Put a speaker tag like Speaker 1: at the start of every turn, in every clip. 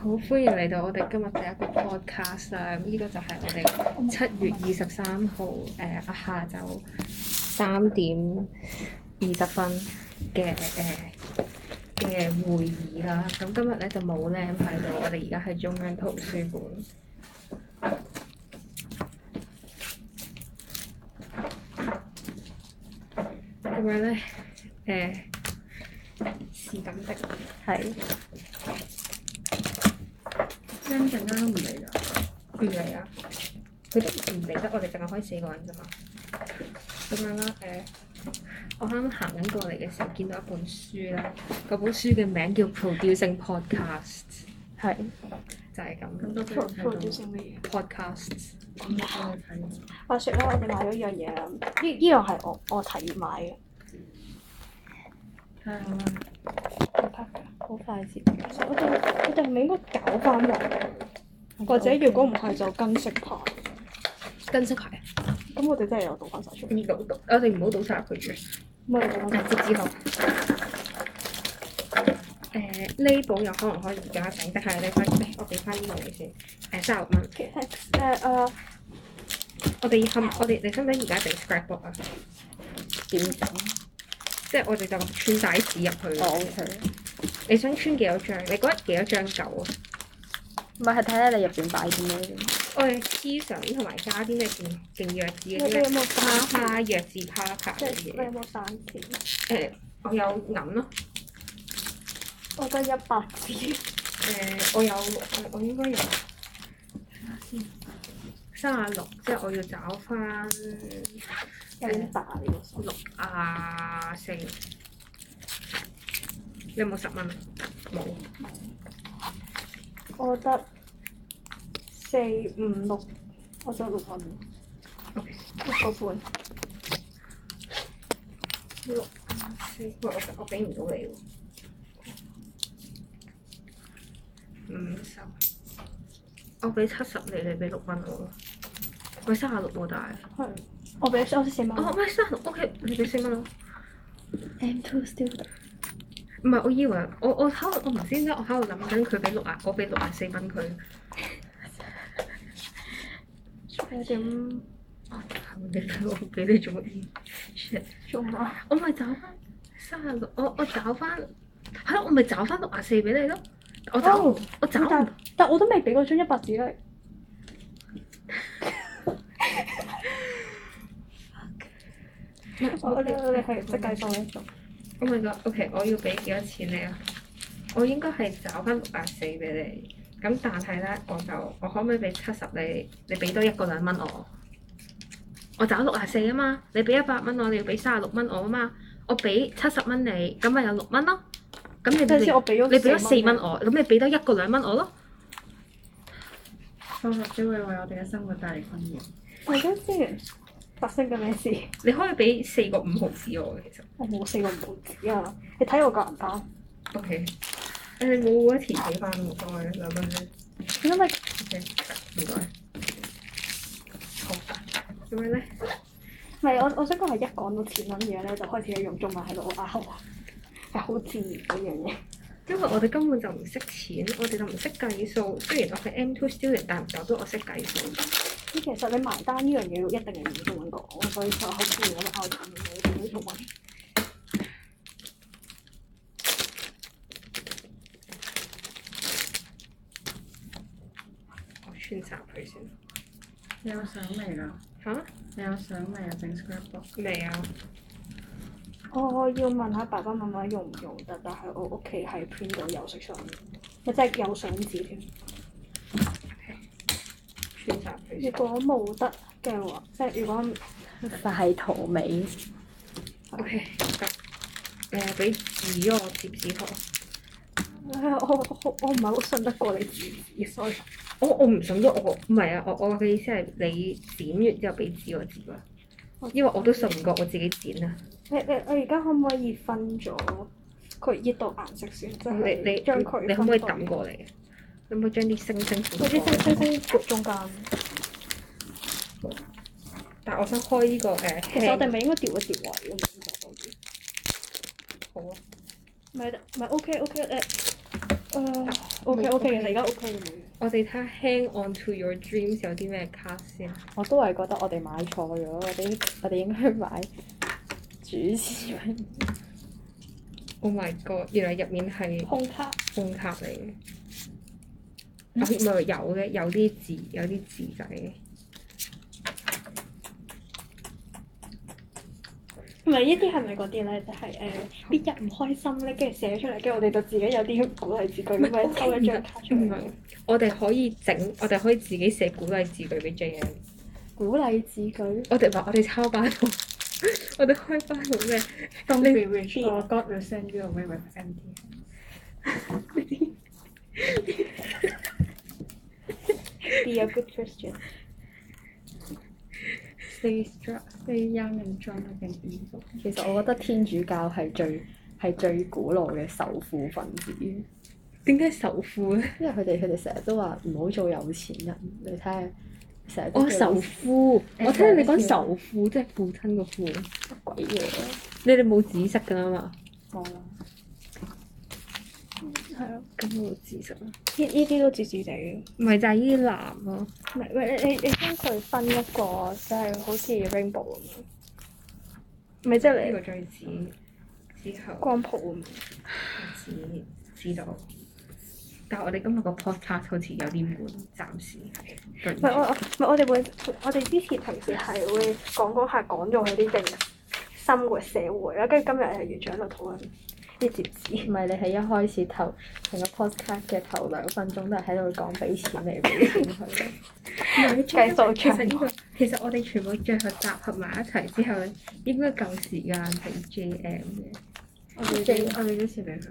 Speaker 1: 好歡迎嚟到我哋今日第一個 podcast 啦！咁呢個就係我哋七月二十三號誒啊下晝三點二十分嘅誒嘅會議啦。咁今日咧就冇 Lam 喺度，我哋而家喺中央圖書館。咁樣咧，誒、是咁的，係。Sam 陣間都唔嚟啦，唔嚟啦，佢都唔嚟得，我哋淨係可以四個人啫嘛。咁樣啦，誒、我啱啱行緊過嚟嘅時候，見到一本書啦，嗰本書嘅名叫《Producing Podcast》，
Speaker 2: 係
Speaker 1: 就係
Speaker 3: 咁都
Speaker 1: 咁。
Speaker 3: 俾我
Speaker 2: p
Speaker 3: 睇
Speaker 2: r o
Speaker 3: 到
Speaker 2: d u，c 咩嘢？
Speaker 1: Podcasts
Speaker 3: 咁都俾我睇到。
Speaker 2: 話説咧，我哋買咗一樣啊嘢啦，呢呢樣係我我提議買嘅，
Speaker 1: 睇下啦，
Speaker 2: 唔拍㗎，好快捷。其實我哋我哋係咪應該搞翻嚟？或者如果唔係就跟色牌，
Speaker 1: 跟色牌，
Speaker 2: 咁我哋真係有倒翻晒出嚟，
Speaker 1: 呢個讀，我哋唔好倒晒入佢住。
Speaker 2: 咁我哋倒翻
Speaker 1: 但係之後，誒呢本有可能可以而家整，但係你翻，誒我俾翻呢個你先，誒三十六蚊。
Speaker 2: 其實誒啊誒
Speaker 1: 我哋冚，我哋你使唔使而家整 scrapbook 啊？
Speaker 3: 點講？
Speaker 1: 即係我哋就咁穿帶紙入去。
Speaker 4: 哦
Speaker 3: 我 OK。
Speaker 1: 你想穿幾多張？你覺得幾多張夠啊？
Speaker 3: 唔係，係睇下你入邊擺啲咩
Speaker 1: 我哋黐相同埋加啲咩勁勁弱智
Speaker 2: 你你
Speaker 1: 嗰
Speaker 2: 有
Speaker 1: 啲咩
Speaker 2: 冇
Speaker 1: 花
Speaker 2: 散錢？
Speaker 1: 花弱智啪啪
Speaker 2: 即
Speaker 1: 嘅
Speaker 2: 係你
Speaker 1: 嘢。
Speaker 2: 有冇散錢？
Speaker 1: 誒，我有銀咯。
Speaker 2: 我得一百紙，
Speaker 1: 誒，我有我我應該有。睇下先。三啊六，即係我要找翻
Speaker 2: 有啲大呢個數。
Speaker 1: 六啊四。你有冇十蚊啊？冇。
Speaker 2: 我得四五六，我得六蚊，
Speaker 1: OK
Speaker 2: 六個半。
Speaker 1: 六啊四，喂，我我俾唔到你喎。五十，我俾七十你，你俾六蚊我咯。我三十六喎，但係
Speaker 2: 係，我俾我四蚊
Speaker 1: 哦，。唔係三十六，OK，你俾四蚊我。
Speaker 2: M two student。
Speaker 1: 唔係，我以為我我喺度，我唔知點解我喺度諗緊佢俾六啊，我俾六啊四蚊佢。
Speaker 2: 有點
Speaker 1: 哦你俾我俾你做乜嘢？shit！
Speaker 2: 做啊？
Speaker 1: 我咪找翻三十六，我我找翻，係咯，我咪找翻六啊四俾你咯。我找
Speaker 2: 哦
Speaker 1: 我找唔
Speaker 2: 但但我都未俾嗰張一百紙你。我我哋我哋哦係即計數嘅做。
Speaker 1: Oh my god！OK，、我要俾幾多錢你啊？我應該係找翻六百四俾你，咁但係咧，我就我可唔可以俾七十你？你俾多一個兩蚊我，我找六啊四啊嘛，你俾一百蚊我，你要俾三十六蚊我啊嘛，我俾七十蚊你，咁咪有六蚊咯。咁你
Speaker 2: 等陣先，我
Speaker 1: 你
Speaker 2: 俾咗
Speaker 1: 你俾咗四蚊。我，咁你俾多一個兩蚊我咯。
Speaker 3: 數學只會為我哋嘅生活帶嚟困擾。
Speaker 2: 我而家先發生緊咩事？
Speaker 1: 你可以俾四個五毫子我嘅其實。
Speaker 2: 我冇四個毫紙啊！你睇我個銀包，
Speaker 1: OK，誒你冇嗰條俾翻我，唔該兩蚊啫。
Speaker 2: 因為
Speaker 1: 唔該。好，咁樣咧，
Speaker 2: 唔係我我想講係一講到錢揾嘢咧，就開始用中文喺度拗，係好自然嗰樣嘢。
Speaker 1: 因為我哋根本就唔識錢，我哋就唔識計數。雖然我係 M two student，但唔代表我識計數。
Speaker 2: 咁其實你埋單呢樣嘢要一定要用中文講，所以就好自然咁拗緊嘢用中文。
Speaker 1: 我穿插佢先。
Speaker 3: 你有相未㗎？
Speaker 1: 吓？
Speaker 3: 你有相未啊？整 scrapbook。
Speaker 1: 未啊？
Speaker 2: 我哦要問下爸爸媽媽用唔用得，但係我屋企係 print 到有色相，即係有相紙添。
Speaker 1: 穿插佢
Speaker 2: 如
Speaker 1: 先。
Speaker 2: 果冇得嘅話，即係如果
Speaker 3: 快圖美。
Speaker 1: O K，得。誒，俾紙我貼紙殼。
Speaker 2: 我我我唔係好信得過你自己，所以
Speaker 1: 我我唔信咗我，唔係啊！我我嘅意思係你剪完之後俾紙我折啦，因為我都信唔過我自己剪啊。
Speaker 2: 你你我而家可唔可以分咗佢熱到顏色先？即
Speaker 1: 你
Speaker 2: 係
Speaker 1: 你
Speaker 2: 將佢
Speaker 1: 你可唔可以
Speaker 2: 分
Speaker 1: 抌過嚟？你可唔可以將啲星星
Speaker 2: 到
Speaker 1: 放
Speaker 2: 嗰啲星星星撥中間。
Speaker 1: 但係我想開呢、個誒，
Speaker 2: 其實我哋咪應該調一調位咁樣就好啲。
Speaker 1: 好啊。
Speaker 2: 唔係唔係 OK OK 誒，誒 OK OK，其實而家 OK 嘅冇嘢。
Speaker 1: 我哋睇下 Hang on to your dreams 有啲咩卡先。
Speaker 4: 我都係覺得我哋買錯咗，我哋我哋應該買主持人
Speaker 1: Oh my god！原來入面係
Speaker 2: 控卡
Speaker 1: 空卡嚟嘅。啊唔係有嘅，有啲字，有啲字仔嘅。
Speaker 2: 唔係呢啲係咪嗰啲咧？就係誒啲人唔開心咧，跟住寫出嚟，跟住我哋就自己有啲鼓勵字句咁樣抽一張卡出
Speaker 1: 唔
Speaker 2: 嚟
Speaker 1: 係。，嗯我哋可以整，我哋可以自己寫鼓勵字句俾 J M。
Speaker 4: 鼓勵字句。
Speaker 1: 我哋話我哋抄班號， 我哋開班號咩？
Speaker 3: Don't
Speaker 1: be
Speaker 3: be rich, or God will send you away with empty.
Speaker 1: 啲
Speaker 2: Be a good Christian。
Speaker 3: Stay strong, stay young and strong against evil.
Speaker 4: 其實我覺得天主教係最係最古老嘅仇富分子，因
Speaker 1: 點解仇富咧？
Speaker 4: 為佢哋佢哋成日都話唔好做有錢人。你睇下，成
Speaker 3: 哦
Speaker 4: 日都
Speaker 1: 我
Speaker 4: 叫
Speaker 1: 仇富，我聽你講仇富，即係父親個父。
Speaker 4: 鬼嘢啊！
Speaker 1: 你哋冇紫色㗎嘛？
Speaker 4: 冇啦，
Speaker 2: 係咯，
Speaker 1: 咁我冇紫色啦。
Speaker 2: 呢呢啲都自自地嘅。
Speaker 1: 唔係就係呢啲藍咯。
Speaker 2: 唔係，喂，你你你將佢分一個，就係好似 rainbow 咁樣，唔係即係
Speaker 1: 呢
Speaker 2: 你
Speaker 1: 個最紫，之後
Speaker 2: 光譜咁樣。
Speaker 1: 紫知道。但係我哋今日個 podcast 好似有啲悶，暫時係對唔
Speaker 2: 唔
Speaker 1: 住
Speaker 2: 係我我唔係我哋會，我哋之前平時係會講講下講咗佢啲定生活社會啦，跟住今日係完全喺度討論啲折紙。
Speaker 4: 唔係你係一開始頭成個 podcast 嘅頭兩分鐘都係喺度講俾錢你俾錢佢，
Speaker 2: 計數
Speaker 1: 其實
Speaker 2: 長
Speaker 1: 呢、個其實我哋全部最後集合埋一齊之後咧，應該夠時間係 JM 嘅。
Speaker 3: 我哋幾我哋幾時嚟㗎？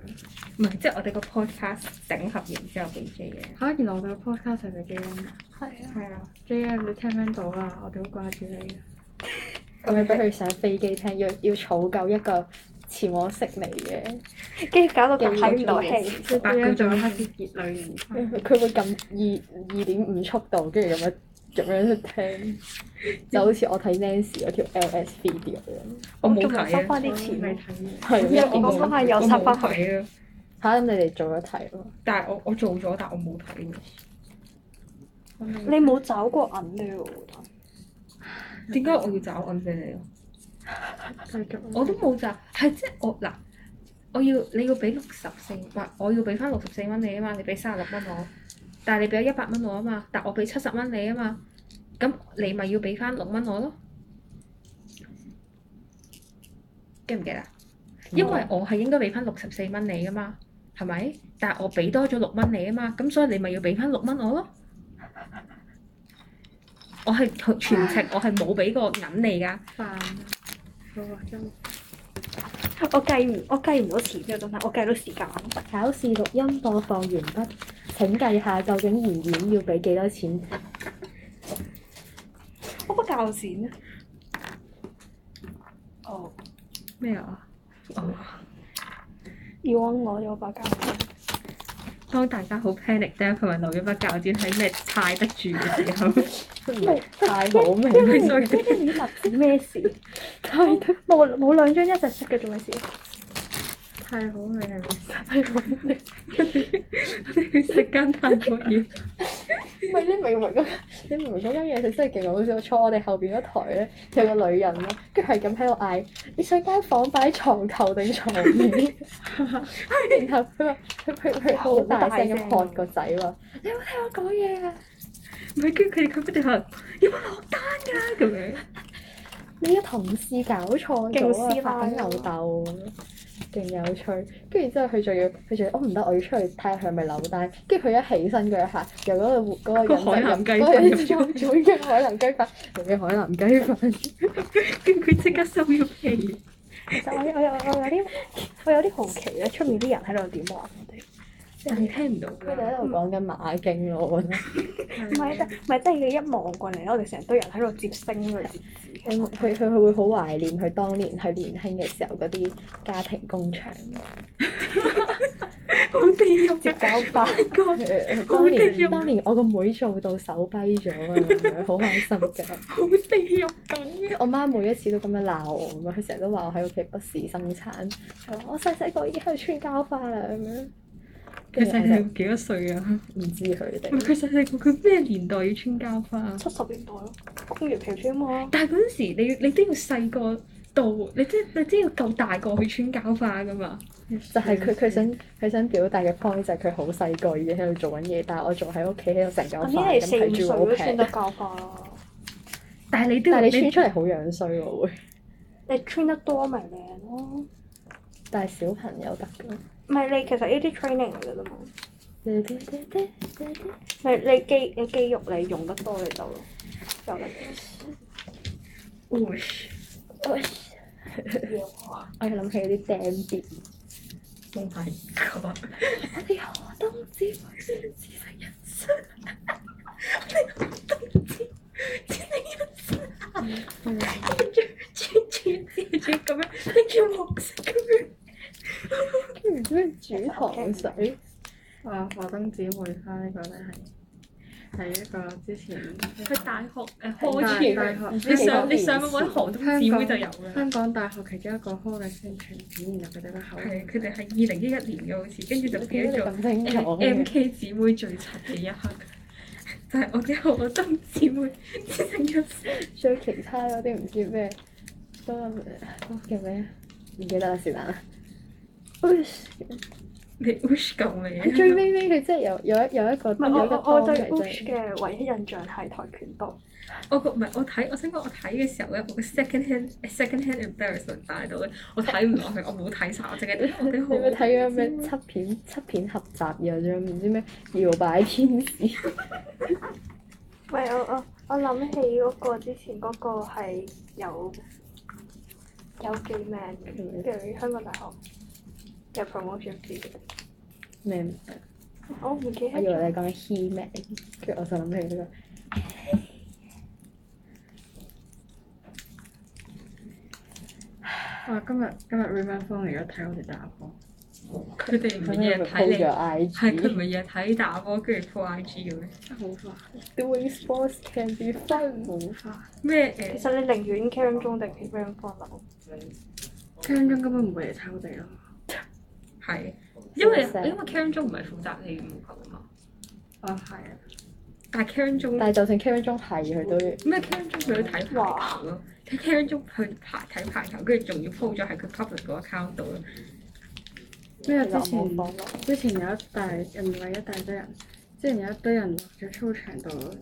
Speaker 1: 唔係，即係我哋個 podcast 整合完之後俾 J 嘅。
Speaker 3: 嚇！原來我哋個 podcast 係咪 J M 啊
Speaker 2: 係啊，
Speaker 1: 係啊，
Speaker 3: ？J M 你聽唔聽到啊？我哋好掛住你啊！
Speaker 4: 咁你俾佢上飛機聽，要要儲夠一個前往悉尼嘅。
Speaker 2: 跟住搞到佢睇唔到戲。
Speaker 3: 即係 J M 仲有開始熱淚盈眶。
Speaker 4: 佢會撳二二點五速度，跟住咁樣咁樣去 聽，就好似我睇 Nancy 嗰條 LS video 咁。
Speaker 1: 我冇
Speaker 2: 仲
Speaker 1: 睇啊
Speaker 2: 冇收翻啲
Speaker 3: 我未
Speaker 2: 錢。
Speaker 3: 睇嘅。
Speaker 4: 係啊
Speaker 2: 因為
Speaker 4: 一
Speaker 2: 我
Speaker 4: 點
Speaker 2: 嗰
Speaker 4: 五
Speaker 2: 翻又收翻去。
Speaker 1: 去啊！
Speaker 4: 嚇，咁你哋做咗題咯？
Speaker 1: 但係我我做咗，但我冇睇喎。
Speaker 3: 我未
Speaker 2: 你冇找過銀俾我喎，
Speaker 1: 點解我要找銀俾你啊？
Speaker 3: 繼續啦。
Speaker 1: 我都冇找，係即係我嗱，我要你要俾六十四，唔係我要俾翻六十四蚊你啊嘛，你俾三十六蚊我，但係你俾咗一百蚊我啊嘛，但我俾七十蚊你啊嘛，咁你咪要俾翻六蚊我咯，記唔記得啊？因
Speaker 4: 嗯
Speaker 1: 為我係應該俾翻六十四蚊你噶嘛，係咪？但係我俾多咗六蚊你啊嘛，咁所以你咪要俾翻六蚊我咯。我係全程我係冇俾過銀你㗎。
Speaker 3: 飯啊！我真係
Speaker 2: 我計唔我計唔到錢嘅真係，我計到時間。
Speaker 4: 考試錄音播放完畢，請計下究竟妍妍要俾幾多 錢？
Speaker 2: 我不教錢啊！哦，
Speaker 1: 咩啊？哦，
Speaker 2: 要安我咗把教
Speaker 1: 當大家好 panic 咧，佢咪留咗把教剪喺咩猜得住嘅時候，
Speaker 4: 太好味
Speaker 2: 因為
Speaker 4: 啦！
Speaker 2: 呢啲禮物紙咩事？係冇冇兩張一隻色嘅做咩事？
Speaker 3: 太好味係咪？
Speaker 1: 食間太多嘢。
Speaker 4: 唔係你明唔明嗰 你明唔明嗰間嘢食真係勁好笑。坐我哋後邊嗰台咧，有個女人咧，跟住係咁喺度嗌：你想間房擺床頭定床面？ 然後佢話佢佢佢好大聲咁喝個仔話：你有冇聽我講嘢啊？
Speaker 1: 唔係，跟住佢哋佢不斷話有冇落單㗎咁樣。
Speaker 4: 你嘅同事搞錯咗
Speaker 2: 勁
Speaker 4: 啊！
Speaker 2: 師奶
Speaker 4: 發緊
Speaker 2: 啊
Speaker 4: 牛竇，勁有趣。跟住之後佢仲要佢仲要，我哦唔得，我要出去睇下佢係咪扭蛋。跟住佢一起身嗰一下，由嗰個嗰個
Speaker 1: 個海南雞
Speaker 4: 嗰個人
Speaker 1: 飯
Speaker 4: 做做嘅海南雞飯，做嘅海南雞飯。
Speaker 1: 跟住佢即刻收咗皮。
Speaker 2: 其實我有我有我有啲我有啲好奇咧，出面啲人喺度點玩我哋？
Speaker 1: 但係聽唔到
Speaker 4: 佢哋
Speaker 1: 㗎。
Speaker 4: 喺度
Speaker 2: 嗯
Speaker 4: 講緊馬經咯，我覺得。
Speaker 2: 唔係得，唔係即係你一望過嚟咧，我哋成堆人喺度接星嗰啲。嗯
Speaker 4: 佢佢佢佢會好懷念佢當年佢年輕嘅時候嗰啲家庭工 場，
Speaker 1: 好地獄
Speaker 4: 接
Speaker 1: 㗎！
Speaker 4: 交班。當年當年我個妹做到手跛咗啊，咁樣好開 心㗎。
Speaker 1: 好地獄咁。
Speaker 4: 我媽每一次都咁樣鬧我咁樣，佢成日都話我喺屋企不時生產，佢話我細細個已經喺度穿膠花啦咁樣。跟
Speaker 3: 佢
Speaker 4: 住我
Speaker 3: 細細個幾多歲啊？
Speaker 4: 就唔知佢
Speaker 3: 唔 係
Speaker 4: 哋
Speaker 3: 佢細細個，佢咩年代要穿膠花？
Speaker 2: 七十年代咯，公園皮村啊嘛，
Speaker 3: 但係嗰陣時，你你都要細個到，你即係你都要夠大個去穿膠花噶嘛？
Speaker 4: 就係佢佢想佢想表達嘅 point 就係佢好細個已經喺度做緊嘢，但係我仲喺屋企喺度成嚿
Speaker 2: 咁呢係
Speaker 4: 飯咁
Speaker 2: 四五
Speaker 4: 睇
Speaker 2: 歲
Speaker 4: 住我
Speaker 2: 都
Speaker 4: 劈
Speaker 2: 算。得教化啦。
Speaker 3: 但係你都要
Speaker 4: 但係你穿出嚟好樣衰喎會，
Speaker 2: 你穿得多咪靚咯，
Speaker 4: 但係小朋友得㗎。
Speaker 2: 唔係你其實呢啲 training 嚟嘅啫嘛，
Speaker 4: 我
Speaker 2: 咪你肌你肌肉你用得多你就有力。
Speaker 1: Whoosh
Speaker 4: 又諗起啲釘碟，
Speaker 1: Oh my god！
Speaker 4: 我哋何都唔知佢先知識人生，我哋何都唔知知識人生。跟住轉轉轉轉咁樣，跟住黃色咁樣，跟住唔知嗯煮糖水，
Speaker 3: 啊，華燈姊妹花呢個咧係係一個之前
Speaker 5: 佢大學誒
Speaker 3: 大
Speaker 1: 哦
Speaker 5: 開始，
Speaker 3: 大學
Speaker 5: 你上你上網揾韓東姊妹就有啦。
Speaker 3: 香港大學其中一個 hall 嘅宣傳片，然後佢哋個口
Speaker 1: 係佢哋係二零一一年嘅好似，跟住就
Speaker 4: 記
Speaker 1: 變
Speaker 4: 得
Speaker 1: 咗做
Speaker 4: 咁清楚
Speaker 1: M K 姊妹最柒嘅一刻，就係我嘅何心姊妹只剩一
Speaker 4: 所以其他嗰啲唔知咩，都叫咩啊？唔記得啦，是但啦。
Speaker 1: 你 wish 夠未啊？
Speaker 4: 最尾尾佢真係有有一有一個
Speaker 2: 唔係
Speaker 4: 有一個
Speaker 2: 我我我對
Speaker 4: point 嚟
Speaker 2: Bush
Speaker 4: 啫
Speaker 2: 嘅唯一印象係跆拳道，
Speaker 1: 我個唔係我睇，我想講我睇嘅時候咧，我個 second hand second hand embarrassment 大到咧，我睇唔落去，我冇睇晒，我淨係睇我嘅
Speaker 4: 你有冇
Speaker 1: 好。
Speaker 4: 睇咗咩七片七片合集又仲有唔知咩搖擺天使？
Speaker 2: 唔係我我我諗起嗰個之前嗰個係有有幾名嘅香港大學嘅 promotion 片，
Speaker 4: 咩？
Speaker 2: 我唔記
Speaker 4: 我
Speaker 2: 得
Speaker 4: 以為
Speaker 2: 咗。
Speaker 4: 你講緊 he man，跟住我就諗起呢
Speaker 3: 哇！今日今日 Raymond 方嚟咗睇我哋打波，
Speaker 1: 佢哋唔
Speaker 4: 個，咁
Speaker 1: 係日日睇
Speaker 4: 樣咪 po
Speaker 1: 你，
Speaker 4: 咗
Speaker 1: 係佢唔
Speaker 4: IG。
Speaker 1: 係日日睇打波，跟住 po IG 嘅咩？
Speaker 3: 真係好
Speaker 4: Doing sports can be fun。
Speaker 3: 快，好快！
Speaker 1: 咩
Speaker 2: 其
Speaker 1: 誒？
Speaker 2: 實你寧願 Cam 中定 Cam 方樓，
Speaker 3: 聽眾根本唔會嚟睇我哋咯。
Speaker 1: 係因為
Speaker 4: 成日
Speaker 1: 因為 Karen 鐘唔係負責你羽毛球啊嘛，
Speaker 3: 啊，係啊！
Speaker 1: 但係 Karen 鐘
Speaker 4: 但係就算 Karen 中係佢都要，
Speaker 1: 咩啊 Karen 鐘佢都睇排球咯，睇 Karen 鐘去排睇排球，跟住仲要 po 咗喺佢 public 嗰個 account 度咯。
Speaker 3: 咩啊？
Speaker 4: 流
Speaker 3: 之前
Speaker 4: 亡網絡。
Speaker 3: 之前有一大唔係一大堆人，之前有一堆人落咗操場度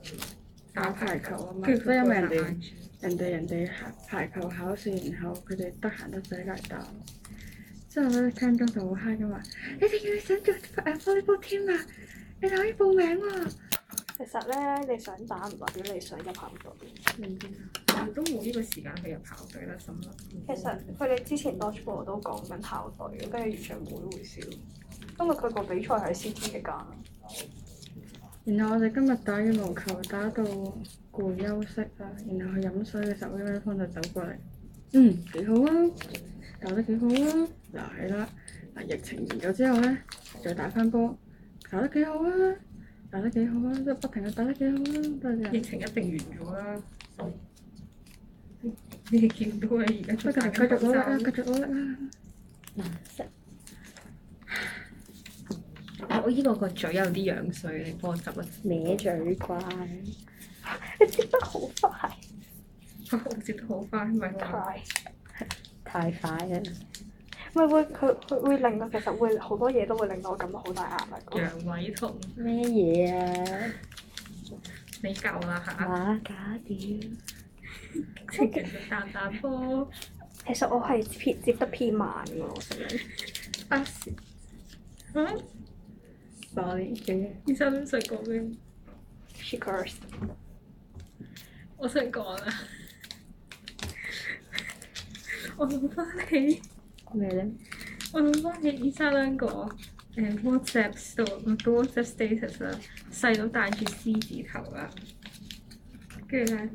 Speaker 3: 打排球啊嘛，
Speaker 1: 跟
Speaker 3: 即
Speaker 1: 住佢
Speaker 3: 係因為人
Speaker 1: po 咗
Speaker 3: 哋
Speaker 1: IG
Speaker 3: 人哋人哋排球考試，然後佢哋得閒得滯嚟打。之後咧，聽眾就好嗨咁話：你哋要想做誒 volleyball team 啊，你哋可以報名喎、
Speaker 2: 其實咧你想打唔代表你想入校隊。
Speaker 1: 我都冇呢個時間去入校隊啦，心諗。
Speaker 2: 其實佢哋之前 Dodgeball 都講緊校隊，跟住完全唔會回笑，因為佢個比賽係 CT 期間。
Speaker 3: 然後我哋今日打羽毛球打到攰休息啦，然後去飲水嘅時候 w i l 方就走過嚟，嗯幾好啊，搞得幾好啊，嗱係啦，嗱疫情完咗之後咧，再打翻波，搞得幾好啊，打得幾好啊，即係不停咁打得幾好啊，多謝。
Speaker 1: 疫情一定完咗啦。你哋見到啊，而家出
Speaker 3: 不
Speaker 1: 曬
Speaker 3: 過繼續
Speaker 1: 口
Speaker 3: 努力
Speaker 1: 罩
Speaker 3: 啦，繼續努力啊啦。
Speaker 1: 我我依個個嘴有啲樣衰，你幫我執啦。
Speaker 4: 歪嘴怪，
Speaker 2: 你接得好快
Speaker 1: 我接得好快，唔係話
Speaker 2: ，cry，
Speaker 4: 太快啦！
Speaker 2: 唔係會佢佢會令到其實會好多嘢都會令到我感到好大壓力咯。
Speaker 1: 陽痿痛，
Speaker 4: 咩嘢啊？
Speaker 1: 你夠啦 嚇！
Speaker 4: 馬假屌！
Speaker 1: 情人節彈彈波，
Speaker 2: 其實我係偏接得偏慢㗎喎，我成日
Speaker 1: 啊時，嗯，
Speaker 3: sorry 嘅，
Speaker 1: 醫生想講咩？
Speaker 2: she curse。
Speaker 1: 我想講啊， 我諗翻起。
Speaker 4: 咩咧？
Speaker 1: 我諗翻起醫生兩個誒 WhatsApp story 個 WhatsApp status 啦，細佬戴住獅字頭啦，跟住咧，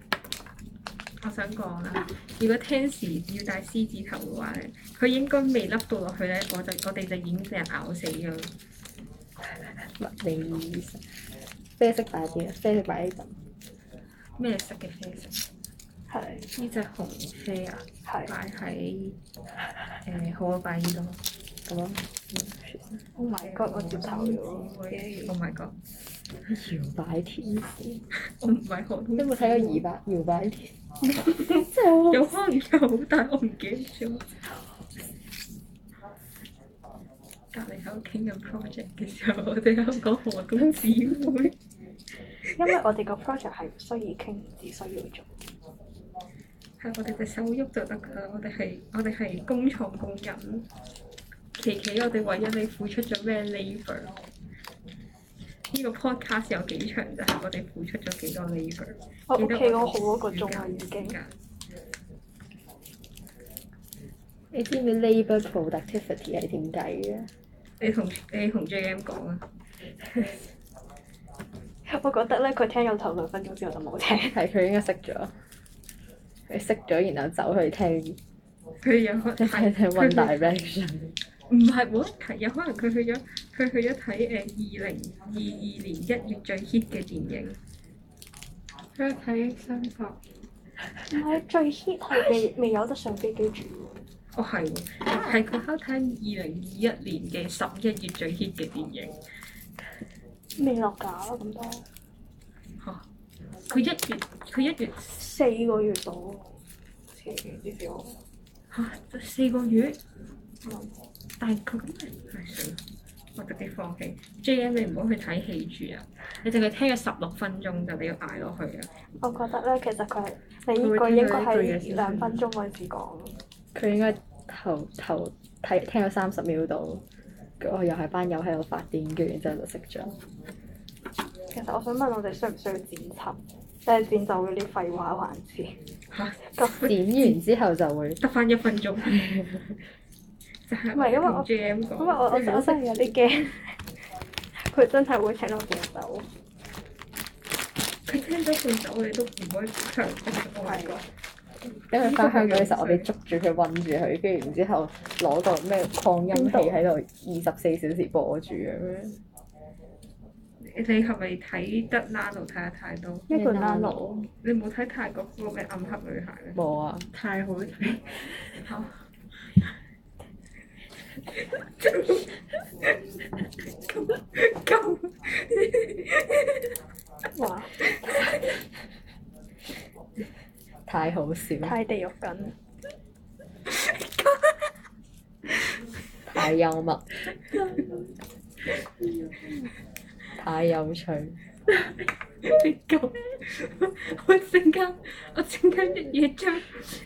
Speaker 1: 我想講啦，如果聽時要戴獅字頭嘅話咧，佢應該未笠到落去咧，我就我哋就已經俾人咬死咗。
Speaker 4: 物理醫生，啡色大啲啊，啡色大啲咁。
Speaker 1: 咩色嘅啡色？
Speaker 2: 係
Speaker 1: 呢只紅啡啊，
Speaker 2: 係
Speaker 1: 擺喺誒好啊擺呢度。
Speaker 4: 咁咯，
Speaker 2: Oh my god！我接受咗。
Speaker 1: Oh my god！
Speaker 4: 搖擺天使，
Speaker 1: 我唔係好
Speaker 4: 你
Speaker 1: 通
Speaker 4: 有冇睇過搖擺搖擺天使？真係
Speaker 1: 有
Speaker 4: 好
Speaker 1: 可能有，但係我唔記得咗。隔離喺度傾緊 project 嘅時候，我哋喺度講河東姊 妹，
Speaker 2: 因為我哋個 project 係唔需要傾，只需要做。
Speaker 1: 係我哋隻手喐就得㗎啦。我哋係我哋係工廠工人，琪琪，我哋為咗你付出咗咩 labour？呢個 podcast 有幾長就係我哋付出咗幾多 labour。
Speaker 2: 我
Speaker 1: 記
Speaker 2: 屋
Speaker 1: 得
Speaker 2: 企
Speaker 1: 我
Speaker 2: 嗰好多個鐘啊啦，已經。
Speaker 4: 你知唔知 labour productivity 係點計嘅？
Speaker 1: 你同你同 JM 講啊。
Speaker 2: 我覺得咧，佢聽有頭兩分鐘之後就冇聽。
Speaker 4: 係佢應該識咗，佢識咗然後走去聽，
Speaker 1: 佢有可
Speaker 4: 即係聽 One Direction。
Speaker 1: 唔係冇得睇，有可能佢去咗佢去咗睇呃誒二零二二年一月最 hit 嘅電影，
Speaker 3: 佢睇三角。
Speaker 2: 唔係最 hit 係未未有得上飛機住喎。
Speaker 1: 哦係喎，係佢喺度睇二零二一年嘅十一月最 hit 嘅電影，
Speaker 2: 未落架啦咁多，
Speaker 1: 嚇、佢一月佢一月
Speaker 2: 四個月到。四個月至少。
Speaker 1: 嚇、四個月，哦但係佢咁係係算啦，我直接放棄。J M 你唔好去睇戲住啊，你淨係聽咗十六分鐘就你要捱落去啊！
Speaker 2: 我覺得咧，其實佢係你呢個應該係兩分鐘嗰陣時講。
Speaker 4: 佢應該頭頭睇聽咗三十秒度，跟住我又係班友喺度發癲，跟住然之後就識咗。
Speaker 2: 其實我想問我哋需唔需要剪輯？即係剪走嗰啲廢話環節。
Speaker 1: 嚇、
Speaker 4: 剪完之後就會
Speaker 1: 得翻一分鐘，就係
Speaker 2: 唔係因為我
Speaker 1: 同 J M
Speaker 2: 因為啊
Speaker 1: 講，
Speaker 2: 我我我哦真係有啲驚， 佢真係會請我哋走。
Speaker 1: 佢聽咗半首你都唔可以強迫我講。
Speaker 4: 因為翻香港嘅時候，我哋捉住佢韞住佢，跟住然之後攞個咩擴音器喺度二十四小時播住咁樣。
Speaker 1: 你係咪睇得 Nano 睇得太多？
Speaker 2: 一個單佬，
Speaker 4: 佬
Speaker 1: 你冇睇泰國嗰個咩暗黑女孩咧？
Speaker 4: 冇啊！
Speaker 3: 太好睇，
Speaker 1: 好，咁
Speaker 2: 哇！
Speaker 4: 太好笑，
Speaker 2: 太地獄緊，
Speaker 4: 太幽默，太有趣。
Speaker 1: 你咁，我陣間我陣間一嘢將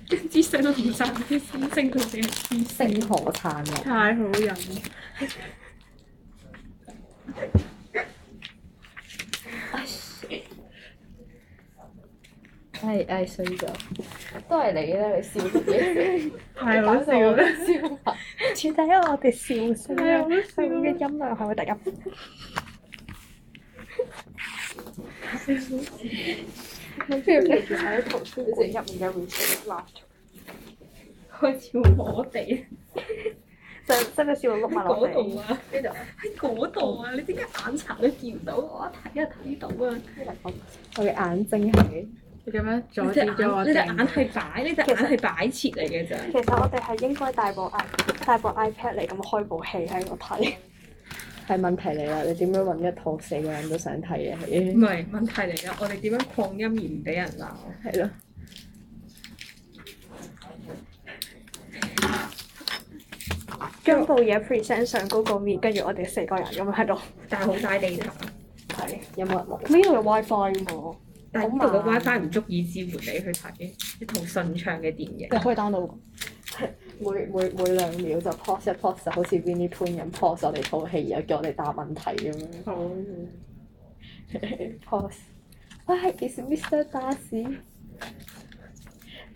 Speaker 1: 將支上到紅曬啲星星同你黐
Speaker 4: 星河燦爛，
Speaker 3: 太好飲。
Speaker 4: 唉唉衰咗，都係你啦！你笑嘢，
Speaker 3: 太好笑啦！
Speaker 4: 笑 啊！
Speaker 2: 全體因為我哋笑聲
Speaker 3: 太好笑啊
Speaker 2: 佢嘅
Speaker 3: 啦！
Speaker 2: 音量係會突然間你不如平時喺圖書館入面嘅 recording laughter，
Speaker 1: 開始我哋。
Speaker 2: 就真係笑到碌埋落
Speaker 1: 嗰度
Speaker 2: 地。
Speaker 1: 啊，呢度喺嗰度啊！你點解眼殘都見唔到？我一睇一睇到啊！
Speaker 4: 我嘅眼睛係
Speaker 3: 你咁樣阻
Speaker 1: 你
Speaker 3: 止
Speaker 1: 隻
Speaker 3: 咗我
Speaker 1: 眼，你隻眼
Speaker 3: 哋。
Speaker 1: 係擺，你隻眼係擺設嚟嘅咋。
Speaker 2: 其實我哋係應該帶部 i 帶部 iPad 嚟咁開部戲喺度 睇。
Speaker 4: 係問題嚟啦！你點樣揾一套四個人都想睇啊嘅
Speaker 1: 唔
Speaker 4: 戲？
Speaker 1: 係問題嚟啦，我哋點樣擴音而唔俾人鬧？
Speaker 4: 係咯，
Speaker 2: 將部嘢 present 上 Google Meet，跟住我哋四個人咁樣喺度
Speaker 1: 但係好大地頭，
Speaker 2: 睇。
Speaker 4: 有冇人落？
Speaker 2: 呢度有 WiFi 喎，
Speaker 1: 但係呢度嘅 WiFi 唔足以支援你去睇一套順暢嘅電影。
Speaker 4: 你可以 download 㗎。每每每兩秒就 pause 一 pause，就好似 Winnie Poon 咁 pause 我哋套戲，然後叫我哋答問題咁樣。
Speaker 3: 好，
Speaker 4: Pause. Why is Mr. Darcy?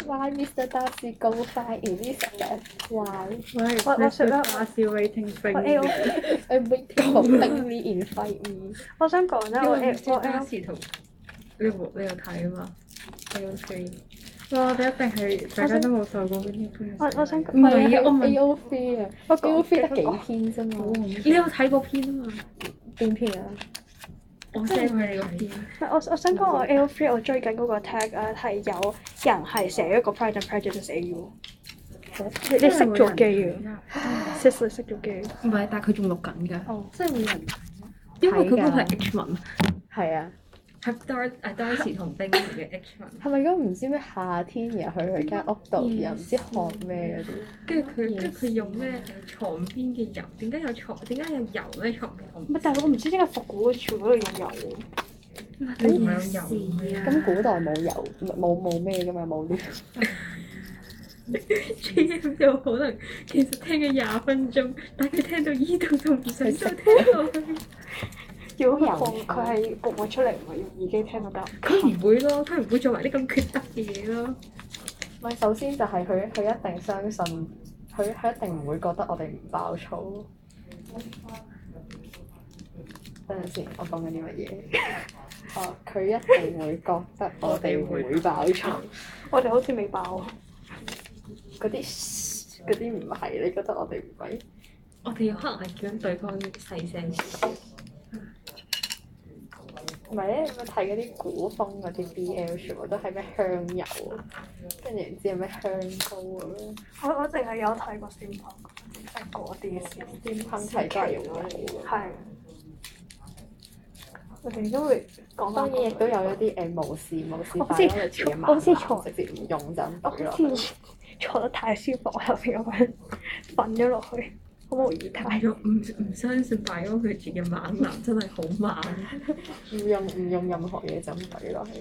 Speaker 4: Why Mr. Darcy go far in this bed? Why?
Speaker 3: 喂，
Speaker 2: 我我
Speaker 3: 雪
Speaker 2: 雪啦
Speaker 3: 花燒 waiting
Speaker 2: 我 A O，
Speaker 3: 冰。
Speaker 4: I'm waiting for Bingley in fight me.
Speaker 2: 我想講咧，
Speaker 1: 因
Speaker 2: 我
Speaker 1: 為
Speaker 2: A 我
Speaker 1: 我
Speaker 2: A
Speaker 1: 當時同你有冇你有睇啊嘛？你有睇？
Speaker 3: 哇！我哋一定係大家都冇受過 waiting 冰。
Speaker 2: 我我想
Speaker 1: 唔係啊，我問
Speaker 4: AO 飛啊
Speaker 2: 我
Speaker 4: ，AO
Speaker 2: 講
Speaker 4: 飛得幾篇啫
Speaker 3: 好
Speaker 4: 嘛？
Speaker 1: 你有睇過片啊嘛？
Speaker 4: 邊篇啊？
Speaker 1: 我 send 俾你個片。
Speaker 2: 唔係我我想講我 A O three 我追緊嗰個 tag 啊係有人係寫一個 Pride and Prejudice A U，你你熄咗機
Speaker 3: 嘅
Speaker 2: 嘅，，熄熄熄咗機。
Speaker 5: 唔係，但係佢仲錄緊㗎，
Speaker 4: 哦，
Speaker 3: 即係會有人
Speaker 5: 因為佢嗰個係 H 文，
Speaker 4: 係啊，
Speaker 1: 係 Dor 啊 Doris 同冰嘅 H 文，
Speaker 4: 係咪嗰個唔知咩夏天然後去佢間屋度，
Speaker 3: 嗯
Speaker 4: 又唔知學咩嗰啲？
Speaker 1: 跟住佢跟住佢用咩誒床邊嘅油？點解有床？點解有油咧？床邊我唔
Speaker 2: 唔係，但係我唔知點解復古全部都係用油。
Speaker 1: 你唔係有油咩？
Speaker 3: 啊
Speaker 4: 咁古代冇油，冇冇咩噶嘛，冇呢。
Speaker 1: J M 有可能其實聽咗廿分鐘，但佢聽到依度就唔想再聽落去。
Speaker 2: 要佢佢係復活出嚟，唔係用耳機聽到得。
Speaker 1: 佢唔會咯，佢唔會做埋啲咁缺德嘅嘢咯。
Speaker 4: 唔係，首先就係佢佢一定相信，佢佢一定唔會覺得我哋唔爆粗。等陣先，我講緊啲乜嘢？ 哦，佢一定會覺得我哋會爆粗。
Speaker 2: 我哋好似未爆。啊
Speaker 4: 嗰啲嗰啲唔係，你覺得我哋唔係？
Speaker 1: 我哋可能係叫對方細聲少少。
Speaker 4: 唔係咧，我睇嗰啲古風嗰啲 BL 全部都係咩香油，跟住然之後咩香膏咁樣，
Speaker 2: 我我淨係有睇過先噴，係嗰啲先。
Speaker 4: 啲噴係都係用油。
Speaker 2: 係。我哋都會講
Speaker 4: 當
Speaker 2: 翻
Speaker 4: 然亦都有一啲誒無視無視
Speaker 2: 我好
Speaker 4: b
Speaker 2: 似
Speaker 4: i o l 嘅
Speaker 2: 我好似從
Speaker 4: 漫畫直接唔用就咁
Speaker 2: 我
Speaker 4: 懟落去
Speaker 2: 好似 坐得太舒服，我入邊咁樣瞓咗落去，好冇儀
Speaker 1: 大
Speaker 2: 態。
Speaker 1: 咗唔唔相信大哥佢住嘅猛男真係好猛，
Speaker 4: 唔用唔用任何嘢就咁懟落去。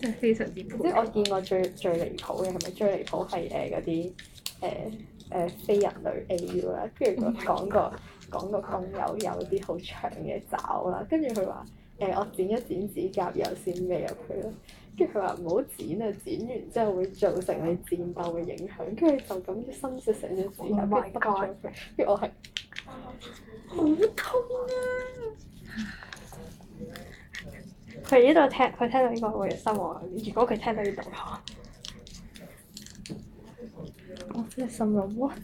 Speaker 1: 真係非常之佩
Speaker 4: 即係我
Speaker 1: 服。
Speaker 4: 見過最最離譜嘅係咪最離譜係誒嗰啲誒誒非人類 AU 啦，跟
Speaker 2: Oh
Speaker 4: 住佢講個講個工友有啲好長嘅爪啦，跟住佢話誒我剪一剪指甲油先孭入去啦。跟住佢話唔好剪啊，剪完之後會造成你戰鬥嘅影響，跟住就咁伸咗成隻指甲，
Speaker 2: Oh
Speaker 4: 跟住
Speaker 2: my
Speaker 4: 得咗佢
Speaker 2: God
Speaker 4: 跟住我係
Speaker 2: 佢呢度聽，佢聽到呢個會失望。如果佢聽到呢度嘅話，
Speaker 4: 我真係心諗 what？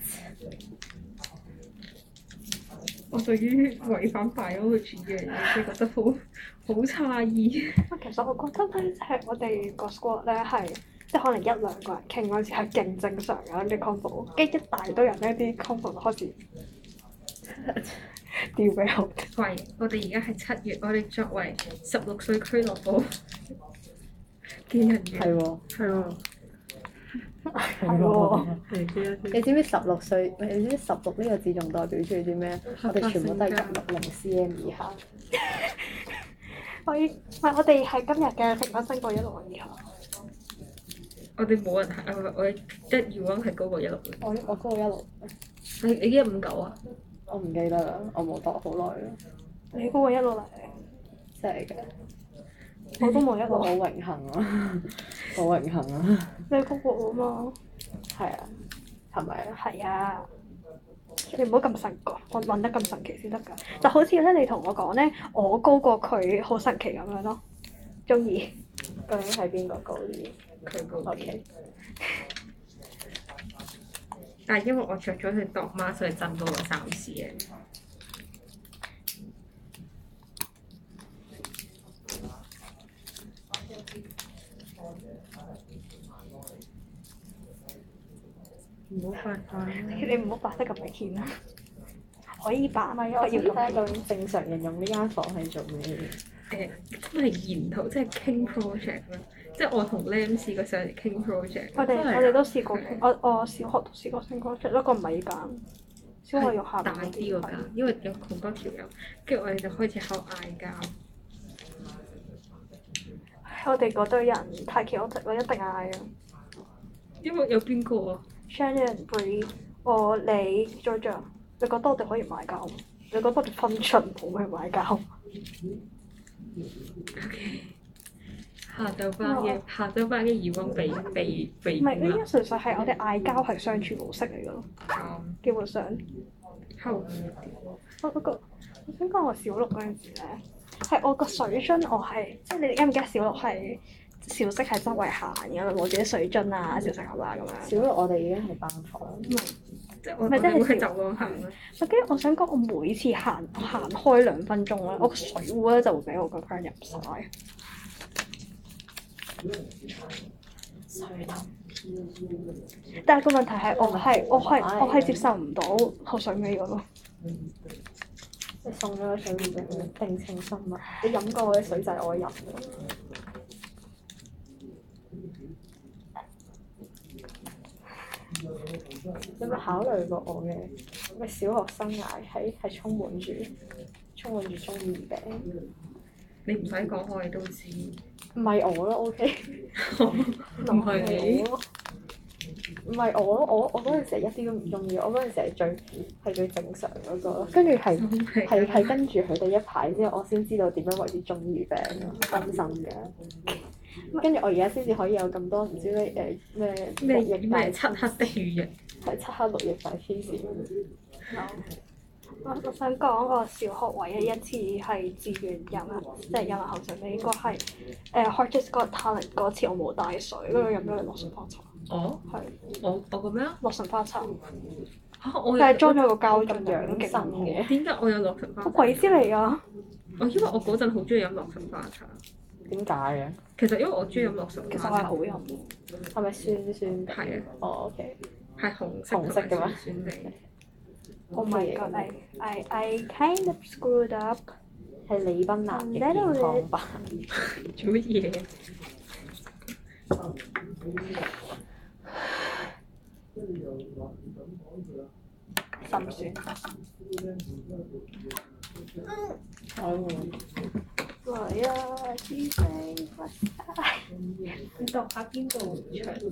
Speaker 1: 我對於違反大哥佢住嘅嘢，真係覺得好好詫異。
Speaker 2: 其實我覺得咧，即係我哋個 squad 咧係即係可能一兩個人傾嗰陣時係勁正常嘅啲 combo，跟住一大堆人咧啲 combo 就開始掉俾我。
Speaker 1: 喂，我哋而家係七月，我哋作為十六歲俱樂部 嘅人員，
Speaker 4: 喎，
Speaker 3: 係喎，
Speaker 2: 係喎，
Speaker 3: 你知啦
Speaker 4: 你知唔知十六歲？你知唔知十六呢個字仲代表住啲咩？
Speaker 3: 合
Speaker 4: 我
Speaker 3: 法
Speaker 4: 哋全部都係
Speaker 3: 性交
Speaker 4: 一六零 cm 以下。
Speaker 2: 我已唔係我哋係今日嘅平均身高一六零以下。
Speaker 1: 我哋冇人係，啊我哋一 U 安係高過一六嘅。
Speaker 4: 我我高一六，
Speaker 1: 你你一五九啊？
Speaker 4: 我唔記得啦，我冇度好耐啦，
Speaker 2: 你嗰個一路嚟，
Speaker 4: 真係嘅，
Speaker 2: 我都冇一
Speaker 4: 我好
Speaker 2: 路。
Speaker 4: 榮幸啊， 好榮幸啊，
Speaker 2: 你嗰個我嘛？
Speaker 4: 係啊，係咪啊？
Speaker 2: 係啊，你唔好咁神奇，我問得咁神奇先得㗎。就好似咧，你同我講咧，我高過佢，好神奇咁樣咯。中意
Speaker 4: 究竟係邊個高啲
Speaker 1: 佢高啲。
Speaker 4: ？OK，
Speaker 1: 但係因為我着咗佢度媽，所以震到我三次嘅。
Speaker 3: 唔好發飯啦。
Speaker 2: 你唔好扮得咁明顯啦。可以扮啊，因為
Speaker 4: 我
Speaker 2: 我
Speaker 4: 要
Speaker 2: 要
Speaker 4: 睇下
Speaker 2: 咁
Speaker 4: 究竟正常人用呢間房係做咩嘅？
Speaker 1: 誒真係研討，即係傾 project 啦。即係我同 Lam 試過上嚟傾 project，
Speaker 2: 我哋
Speaker 3: 真係啊
Speaker 2: 我哋都試過，我我小學都試過升高出，不過唔係呢間。小學要下
Speaker 1: 大
Speaker 2: 面
Speaker 1: 啲嗰間，因為有好多條友，跟住我哋就開始喺度嗌交。
Speaker 2: 我哋嗰堆人太 chaotic 啦，一定嗌啊。
Speaker 1: 因為有邊個啊？
Speaker 2: Shannon、Bree，我你 Georgia，你覺得我哋可以買交？你覺得我哋分寸冇去買交？
Speaker 1: 下晝班嘅下晝班嘅義工被被被
Speaker 2: 唔係，呢
Speaker 1: 啦，
Speaker 2: 啲純粹係我哋嗌交係相處模式嚟嘅咯，
Speaker 1: 嗯
Speaker 2: 基本上。
Speaker 1: 後
Speaker 2: 我嗰個，我想講我小六嗰陣時咧，係我個水樽我係，即係你哋記唔記得小六係小息係周圍行嘅嘛，攞住啲水樽啊、小食盒啊咁樣。
Speaker 4: 小六我哋已經係班房，
Speaker 1: 即係我
Speaker 2: 咪
Speaker 1: 哋
Speaker 2: 即係
Speaker 1: 會喺走廊行啦。
Speaker 2: 我跟住我想講，我每次行我行開兩分鐘咧，我個水壺咧就會俾我個 friend 入晒。
Speaker 4: 水桶
Speaker 2: 但係個問題係我係我係我係接受唔到口水味嗰個。
Speaker 4: 你送咗個水壺俾佢，定情深啊！你飲過我嘅水就係我飲嘅。有冇考慮過我嘅咩小學生涯係係充滿住充滿住中二病？
Speaker 1: 你唔使講，我哋都知。
Speaker 4: 唔係我咯，OK。
Speaker 1: 唔係你，
Speaker 4: 唔係我咯，我我嗰陣時係一啲都唔中意，我嗰陣時係最係最正常嗰個咯，跟住係係係跟住佢哋一排之後，我先知道點樣為之中二病咯，真心嘅。跟住我而家先至可以有咁多唔知咩誒咩
Speaker 1: 咩
Speaker 4: 六翼大
Speaker 1: 咩漆黑的雨翼，
Speaker 4: 係漆黑六翼大黐線，
Speaker 2: 我我想講我小學唯一一次係自願飲啊，即係飲口水味，應該係誒 Hot Just Got Talent 嗰次我冇帶水，跟住飲咗落純花茶，
Speaker 1: 我
Speaker 2: 係
Speaker 1: 哦我我個咩啊？
Speaker 2: 落純花茶，
Speaker 1: 嚇我有
Speaker 2: 但係裝咗個膠樽
Speaker 4: 咁養
Speaker 2: 樣
Speaker 4: 生
Speaker 2: 勁
Speaker 4: 嘅。
Speaker 1: 點解我有洛神花
Speaker 2: 好鬼啊
Speaker 1: 茶？哦
Speaker 2: 知嚟㗎！
Speaker 1: 我因為我嗰陣好中意飲洛神花茶，
Speaker 4: 點解嘅？
Speaker 1: 其實因為我中意飲洛神
Speaker 2: 其實我
Speaker 1: 花
Speaker 2: 係
Speaker 1: 茶
Speaker 2: 好，飲，
Speaker 4: 係咪酸酸？
Speaker 1: 係啊，
Speaker 4: 哦，OK，
Speaker 1: 係紅色同
Speaker 4: 紅色嘅咩
Speaker 1: 埋酸酸地。
Speaker 2: Oh my god! I I I kind of screwed up.
Speaker 4: 係李斌南嘅健康版。
Speaker 1: 做乜嘢？嗯
Speaker 2: 心酸。來啊，知飛不
Speaker 1: 你度下邊度長啲？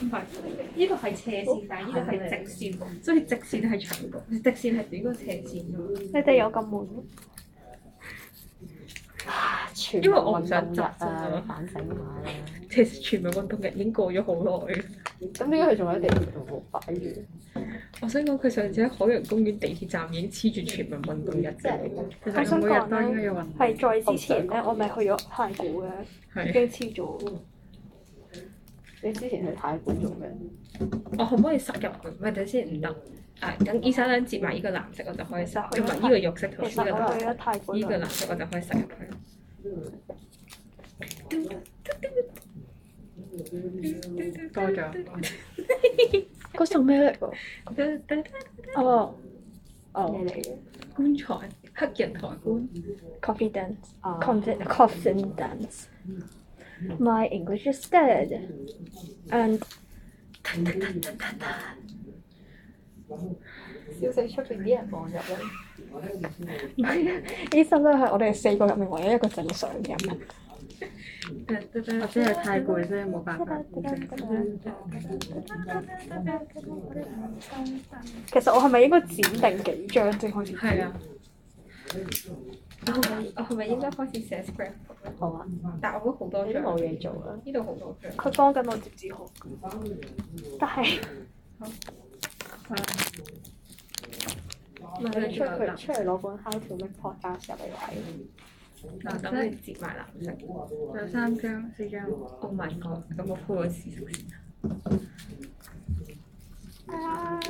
Speaker 1: 唔係，呢個係斜線，但係呢個係直線，所以直線係長過，直線係短過斜線㗎嘛。
Speaker 2: 你哋有咁悶？
Speaker 4: 全
Speaker 1: 因為我唔想
Speaker 4: 民
Speaker 1: 執
Speaker 4: 運動
Speaker 1: 啫嘛
Speaker 4: 日啊，你反省下啦。
Speaker 1: 其實全民運動日已經過咗好耐。
Speaker 4: 咁點解佢仲喺地鐵度擺住？
Speaker 1: 我想講佢上次喺海洋公園地鐵站已經黐住全民運動日嘅，
Speaker 3: 其
Speaker 2: 我
Speaker 3: 實
Speaker 2: 想
Speaker 3: 每日
Speaker 2: 講
Speaker 3: 都
Speaker 2: 咧
Speaker 3: 應該要運動。
Speaker 2: 係再之前咧，我咪去咗太古嘅，已
Speaker 1: 係。
Speaker 2: 經黐咗。
Speaker 4: 你之前去太古做咩？
Speaker 1: 我哦可唔可以塞入去？唔係等先，唔得。啊，等醫生咧接埋呢個藍色，我就哦可以塞。唔係呢個肉色同
Speaker 2: 其
Speaker 1: 呢個
Speaker 2: 實
Speaker 1: 藍
Speaker 2: 我
Speaker 1: 色，
Speaker 2: 去咗太古
Speaker 1: 嗯呢個
Speaker 2: 兩
Speaker 1: 藍色我就可以塞入去。
Speaker 3: 多咗。
Speaker 4: 嗰首咩嚟㗎？
Speaker 2: 嘢
Speaker 4: 哦，哦，
Speaker 2: 嚟嘅
Speaker 1: 棺材，黑人抬棺。
Speaker 2: confidence,
Speaker 4: 啊
Speaker 2: confidence, confidence. My English is dead, and
Speaker 4: 笑死出邊啲人望入嚟。
Speaker 2: 呢首都係我哋四個入面唯一一個正常嘅人。
Speaker 3: 我真係太攰，真係冇辦法。
Speaker 2: 其實我係咪應該剪定幾張先開始？
Speaker 1: 係啊。我係咪我係咪應該開始寫 script？
Speaker 4: 好啊，
Speaker 1: 但我都好多
Speaker 4: 我已經
Speaker 1: 張，
Speaker 4: 冇嘢做啦。
Speaker 1: 呢度好多張。
Speaker 2: 佢幫緊我接字號，但係
Speaker 1: 唔係
Speaker 4: 你
Speaker 1: 你
Speaker 4: 出
Speaker 1: 出去
Speaker 4: 去出去攞本 How to Make Podcast 入嚟睇。
Speaker 1: 嗱，等你接埋藍色。
Speaker 3: 有三張、四張。
Speaker 1: Oh my god！咁我鋪咗試食先。
Speaker 2: 啊，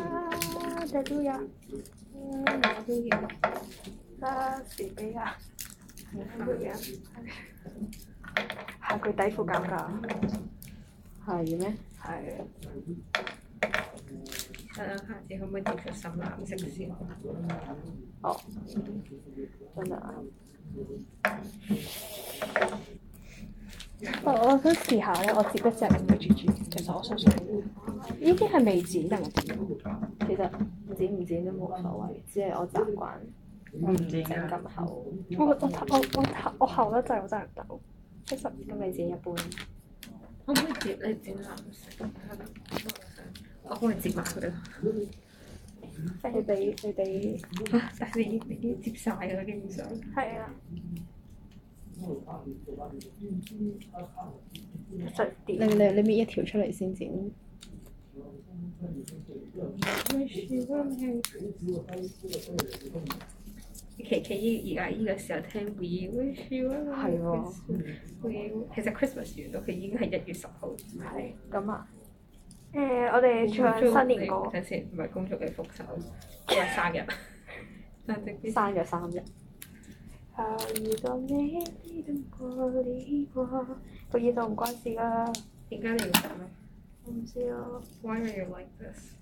Speaker 2: 大都呀，
Speaker 1: 我都要。
Speaker 2: 啊，是比呀，係佢底褲減價，
Speaker 4: 係咩？
Speaker 2: 係
Speaker 1: 等等下次可唔可以接出深藍色先？
Speaker 4: 真係啊！我我想試下咧，我接一隻 G G，其實我相信呢啲係未剪定係點？其實剪唔剪都冇所謂，只係我習慣
Speaker 3: 我唔知
Speaker 4: 整
Speaker 3: 㗎。
Speaker 4: 咁厚，
Speaker 2: 我我頭我我頭我後得滯，我真係唔得。其實
Speaker 4: 咁咪剪一半。
Speaker 1: 可唔可以接你剪藍色？我幫你接埋佢啦。
Speaker 4: 你俾你俾
Speaker 1: 嚇！但係你已經你已經接晒㗎啦，基本上。
Speaker 2: 係啊。其實
Speaker 4: 你
Speaker 2: 點？
Speaker 4: 你你搣一條出嚟先剪。
Speaker 1: 琪琪而家依個時候聽 We Wish You a Merry
Speaker 4: 係喎
Speaker 1: Christmas 其實 Christmas 完咗，佢已經係一月十號。係。
Speaker 4: 咁啊，
Speaker 2: 誒，我哋唱新年歌。
Speaker 1: 等先，唔係恭祝你復仇，今日生日。但係
Speaker 4: 生咗三日。
Speaker 2: 靠一個美麗的玻璃國，個耳度唔關事噶，
Speaker 1: 點解你要咁啊
Speaker 2: 我唔知啊，
Speaker 1: ？Why are you like this？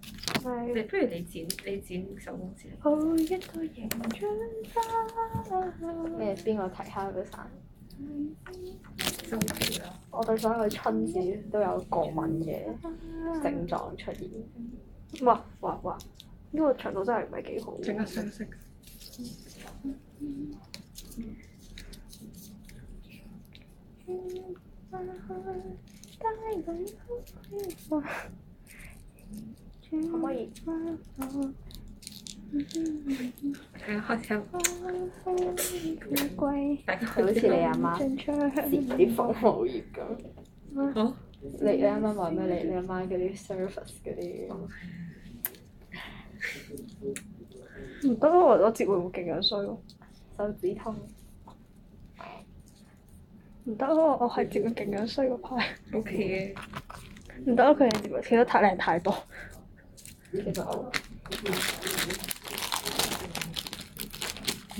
Speaker 2: 咪
Speaker 1: 你不如你剪你剪手工先。
Speaker 2: 好一個形象
Speaker 4: 咩？邊個提下佢散？
Speaker 1: 收皮啦！
Speaker 4: 我對所有春字都有過敏嘅症狀出現。
Speaker 2: 哇哇哇！呢、個長度真係唔係幾好。
Speaker 3: 整個相識。
Speaker 2: 可唔可以？
Speaker 1: 係啊，開始
Speaker 2: 貴
Speaker 1: 大家
Speaker 4: 就好似你阿媽
Speaker 2: 進出
Speaker 4: 接啲鳳凰葉咁。
Speaker 1: 好
Speaker 4: 你你啱啱話咩？你你阿媽嗰啲 service 嗰啲，
Speaker 2: 唔得，我我接會唔會勁樣衰喎？
Speaker 4: 手指痛，
Speaker 2: 唔得，我我係接會勁樣衰嗰派。
Speaker 1: OK 嘅。
Speaker 2: 唔得，佢哋接會企得太靚太多。
Speaker 4: 其實我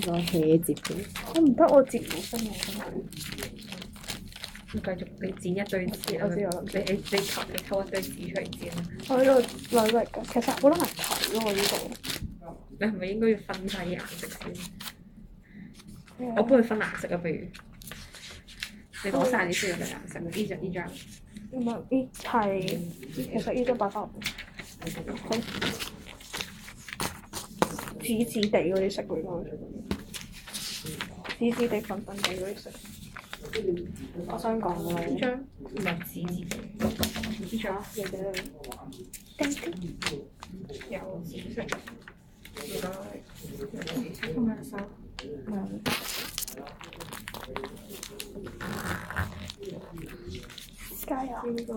Speaker 4: 我 hea 接嘅，
Speaker 2: 我唔得，我接唔到身嘅。
Speaker 1: 咁繼續你剪一堆字啦。
Speaker 2: 我知我
Speaker 1: 你你你抽你抽一堆字出嚟剪啦。
Speaker 2: 我喺度努力㗎，其實好難睇咯，我呢
Speaker 1: 你係咪應該要分晒啲顏色先？
Speaker 2: 度。
Speaker 1: 我幫佢分顏色啊，不如。你攞晒你需要嘅顏色，呢張呢張。
Speaker 2: 唔係呢係，其實呢張擺翻好紫紫地嗰啲色會咯，紫紫地粉粉地嗰啲色。
Speaker 4: 我想講
Speaker 1: 呢
Speaker 4: 咧，
Speaker 1: 張唔係紙字嘅，呢張
Speaker 4: 你哋咧
Speaker 1: 有紫色。唔該，有紫色。
Speaker 2: 加油！
Speaker 1: 呢個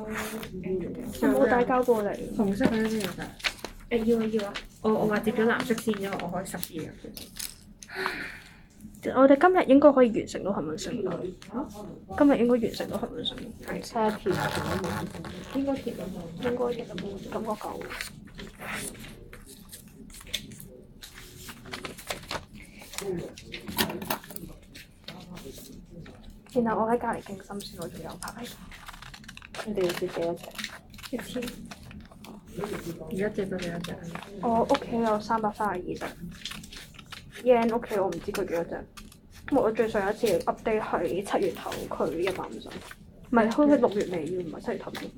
Speaker 2: 有冇帶
Speaker 1: 誒
Speaker 2: 膠過嚟？
Speaker 3: 紅色嗰啲都要㗎。
Speaker 1: 要啊要啊！我我話接咗藍色先，因為我可以十二啊。
Speaker 2: 我哋今日應該可以完成到核文成咯。今日應該完成到核文成，
Speaker 4: 睇下條
Speaker 1: 應該貼到
Speaker 2: 應該其實冇感覺夠。然後我喺隔離勁心酸，我仲有排。
Speaker 4: 你哋要接幾多隻？
Speaker 2: 一千。
Speaker 3: 而家借咗你一隻。
Speaker 2: 我屋企有三百三十二隻 yen，屋企我唔知佢幾多隻。咁我最上一次 update 係七月頭，佢一百五十，唔係佢係六月尾要，唔係七月頭添。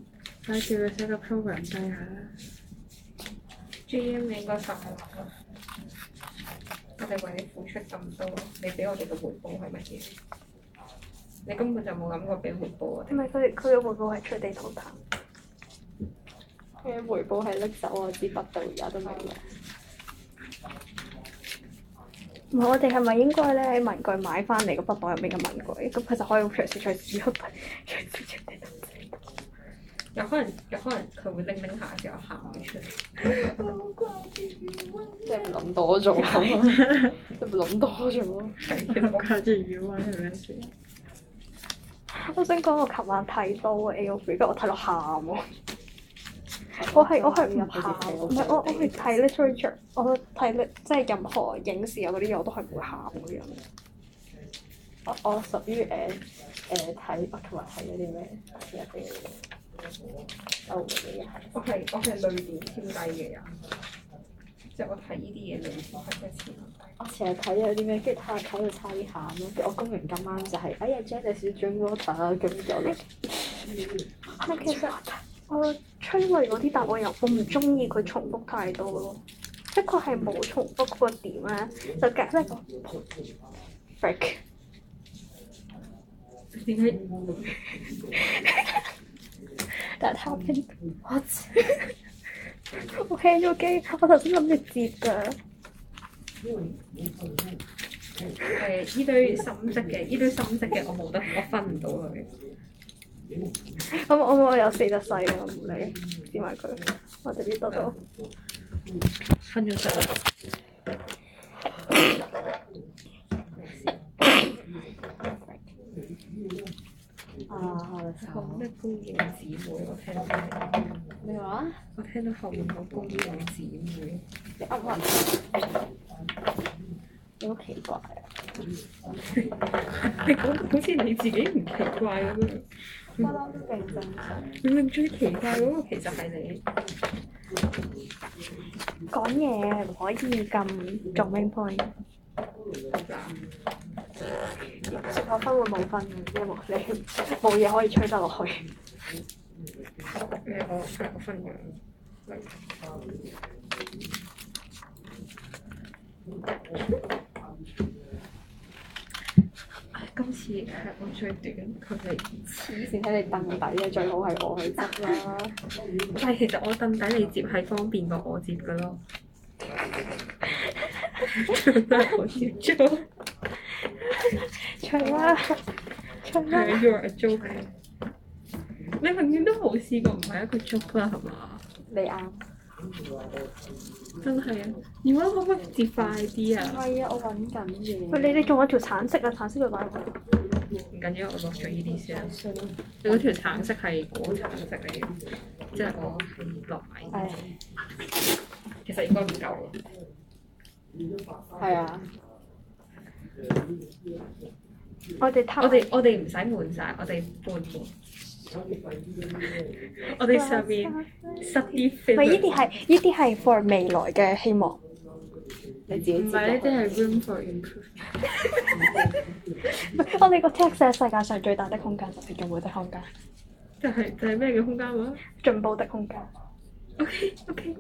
Speaker 3: 快叫佢寫個 program 低下啦。
Speaker 1: J M 你應該受下落啦。我哋為你付出咁多，你俾我哋嘅回報係乜嘢？你根本就冇諗過俾回報我
Speaker 2: 唔
Speaker 1: 哋。
Speaker 2: 係佢佢嘅回報係出地圖談，
Speaker 4: 佢嘅回報係拎走我支筆到而家都未用。
Speaker 2: 唔係我哋係咪應該咧喺文具買翻嚟個筆袋入面嘅文具，咁佢就可以隨時隨時出筆，隨時隨地圖
Speaker 1: 有可能有可能佢會拎拎下之後喊咗出嚟。
Speaker 4: 即係諗多 咗，即係諗多咗。
Speaker 3: 我靠住妖啊！係咪先？
Speaker 2: 我想講，我琴晚睇到 A O B，跟住我睇到喊喎。
Speaker 4: 啊
Speaker 2: 我係我係唔喊，唔係我我係睇 literature，我睇 lit- 即係任何影視啊嗰啲嘢我都係唔會喊嗰樣。
Speaker 4: 我我屬於誒誒睇，我琴日睇咗哦啲咩？日本嘅嘢，歐美嘅嘢係。
Speaker 1: 我係我係淚點超低嘅人，即係我睇呢啲嘢淚點係真係超低。
Speaker 4: 我成日睇咗啲咩，跟住睇下睇到差啲喊咯。跟住我公完今晚就係、哎呀 j e n n i c e 轉 water 咁有力。
Speaker 2: 但啊其實我催淚嗰啲答案又我唔中意佢重複太多咯，即係佢係冇重複個點咧，就隔即係個 break。
Speaker 1: 點解
Speaker 2: That happened. What？我 hang 咗機，我頭先諗住接㗎。
Speaker 1: 誒呢堆深色嘅呢堆深色嘅我冇得我分唔到佢。
Speaker 2: 咁我我有四隻細啊嘅，我唔理，接埋佢，我直接得到。
Speaker 5: 分咗手。
Speaker 4: 啊，
Speaker 1: 好咩潘耀姊妹，我聽到
Speaker 4: 咩話？
Speaker 1: 我聽到後面有潘耀姊妹。
Speaker 4: 你噏乜？你好奇怪啊！
Speaker 1: 你講好似你自己唔奇怪咁樣，
Speaker 2: 不嬲都勁正常。
Speaker 1: 你最奇怪嗰個其實係你。
Speaker 2: 講嘢唔可以咁重 main point，食我分會冇分嘅，因為你冇嘢可以吹得落去。
Speaker 1: 咩？我係我分享。唉今次係我最短，佢哋。
Speaker 4: 黐線喺你凳底嘅，最好係我去執啦。
Speaker 1: 但係其實我凳底你接係方便過我接嘅 咯。我接咗，
Speaker 2: 唱啦，唱啦！
Speaker 1: 係 you're a joke。你永遠都冇試過唔係一個 joke 啦，係嘛？
Speaker 4: 你啱。
Speaker 1: 真係啊！而家可唔可以接快啲
Speaker 4: 唔
Speaker 1: 啊？
Speaker 4: 係啊，我揾緊嘢。
Speaker 2: 喂，你你仲有條橙色啊？橙色嘅擺喺度。
Speaker 1: 唔緊要，我落咗呢啲先。你嗰條橙色係果橙色嚟嘅，即係我落埋。
Speaker 4: 係
Speaker 1: 其實應該唔夠嘅。
Speaker 4: 係啊，
Speaker 2: 我哋攤。
Speaker 1: 我哋我哋唔使滿晒，我哋半滿。我哋上面塞啲
Speaker 2: 喂，
Speaker 1: filler
Speaker 2: 呢啲係呢啲係 for 未來嘅希望。
Speaker 4: 你自己
Speaker 3: 唔
Speaker 4: 知
Speaker 3: 係呢
Speaker 4: 道。
Speaker 3: 啲係 room for improvement。
Speaker 2: 我哋個 text 係世界上最大的空間，就係進步的空間，
Speaker 1: 就係就係咩嘅空間話
Speaker 2: 進步的空間。
Speaker 1: ？OK OK，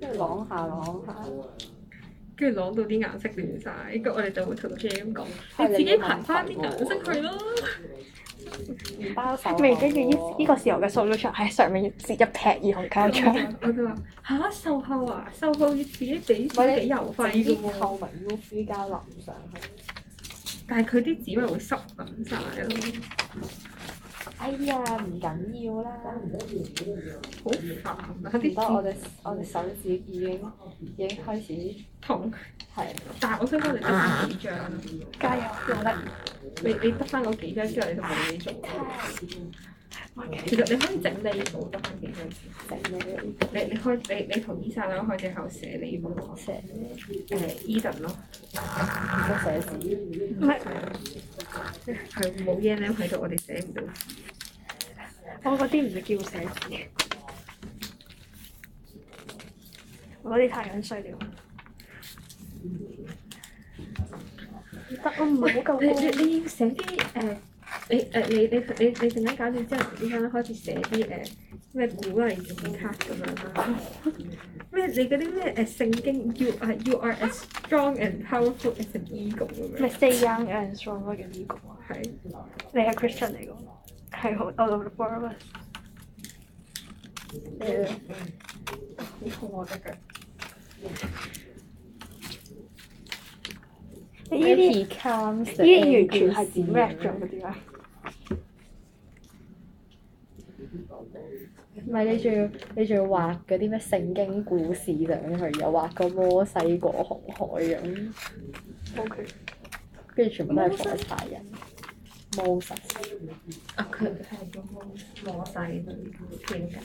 Speaker 4: 即係啷下啷下。
Speaker 1: 跟住攞到啲顏色亂晒，跟住我哋就會同 Jam 講，
Speaker 4: 係
Speaker 1: 你自己
Speaker 4: 你
Speaker 1: 排翻啲
Speaker 4: 問
Speaker 1: 顏色去啦。
Speaker 4: 唔包手。
Speaker 2: 明跟住呢呢個時候嘅 solution 喺上面截一劈二號膠槍。
Speaker 1: 我就話吓，售後啊，售後要自己俾
Speaker 4: 唔係
Speaker 1: 自
Speaker 4: 你
Speaker 1: 己郵費
Speaker 4: 整
Speaker 1: 嘅
Speaker 4: 啲
Speaker 1: 喎，
Speaker 4: 透明 U V 膠淋上去。
Speaker 1: 但係佢啲紙咪會濕緊晒咯，
Speaker 4: 哎呀，唔緊要啦。
Speaker 1: 好煩啊！
Speaker 4: 唔
Speaker 1: 啲
Speaker 4: 得，我
Speaker 1: 紙
Speaker 4: 哋我哋手指已經已經開始
Speaker 1: 痛，
Speaker 4: 係
Speaker 1: 但係我想講你得翻幾張啊，
Speaker 2: 加油，努力！
Speaker 1: 你你得翻嗰幾張之後，你就冇嘢做。其實你可以整理稿得翻幾張紙，
Speaker 4: 整你
Speaker 1: 你你開你你同伊莎拉開隻口寫你嗰個
Speaker 4: 寫
Speaker 1: 誒 Eden 咯。
Speaker 4: 個寫字。
Speaker 2: 唔係，
Speaker 1: 係冇嘢咧喺度，我哋寫唔到。
Speaker 2: 我嗰啲唔係叫寫字，我嗰啲太樣衰了。唔得，我唔係好夠
Speaker 1: 你你你要
Speaker 2: 高。
Speaker 1: 寫啲誒，你誒你你你你陣間搞掂之後，點樣開始寫啲誒咩鼓勵自己卡咁樣啦？咩你嗰啲咩誒聖經 À, you are you are as strong and powerful as an eagle 咁
Speaker 2: 咪
Speaker 1: 樣
Speaker 2: stay young and strong 嗰呢個啊？
Speaker 1: 係
Speaker 2: 你係 Christian 嚟㗎喎？係我我老婆啊！
Speaker 1: 好我得㗎。
Speaker 2: 你呢啲。
Speaker 4: becomes
Speaker 2: 呢啲完全係點 rap 咗嗰啲啊！
Speaker 4: 唔係你仲要你仲要畫嗰啲咩聖經故事上去，又畫個摩西過紅海咁，
Speaker 2: 冇佢，
Speaker 4: 跟住全部都係火柴人。摩西
Speaker 1: 啊佢係叫摩摩西點解？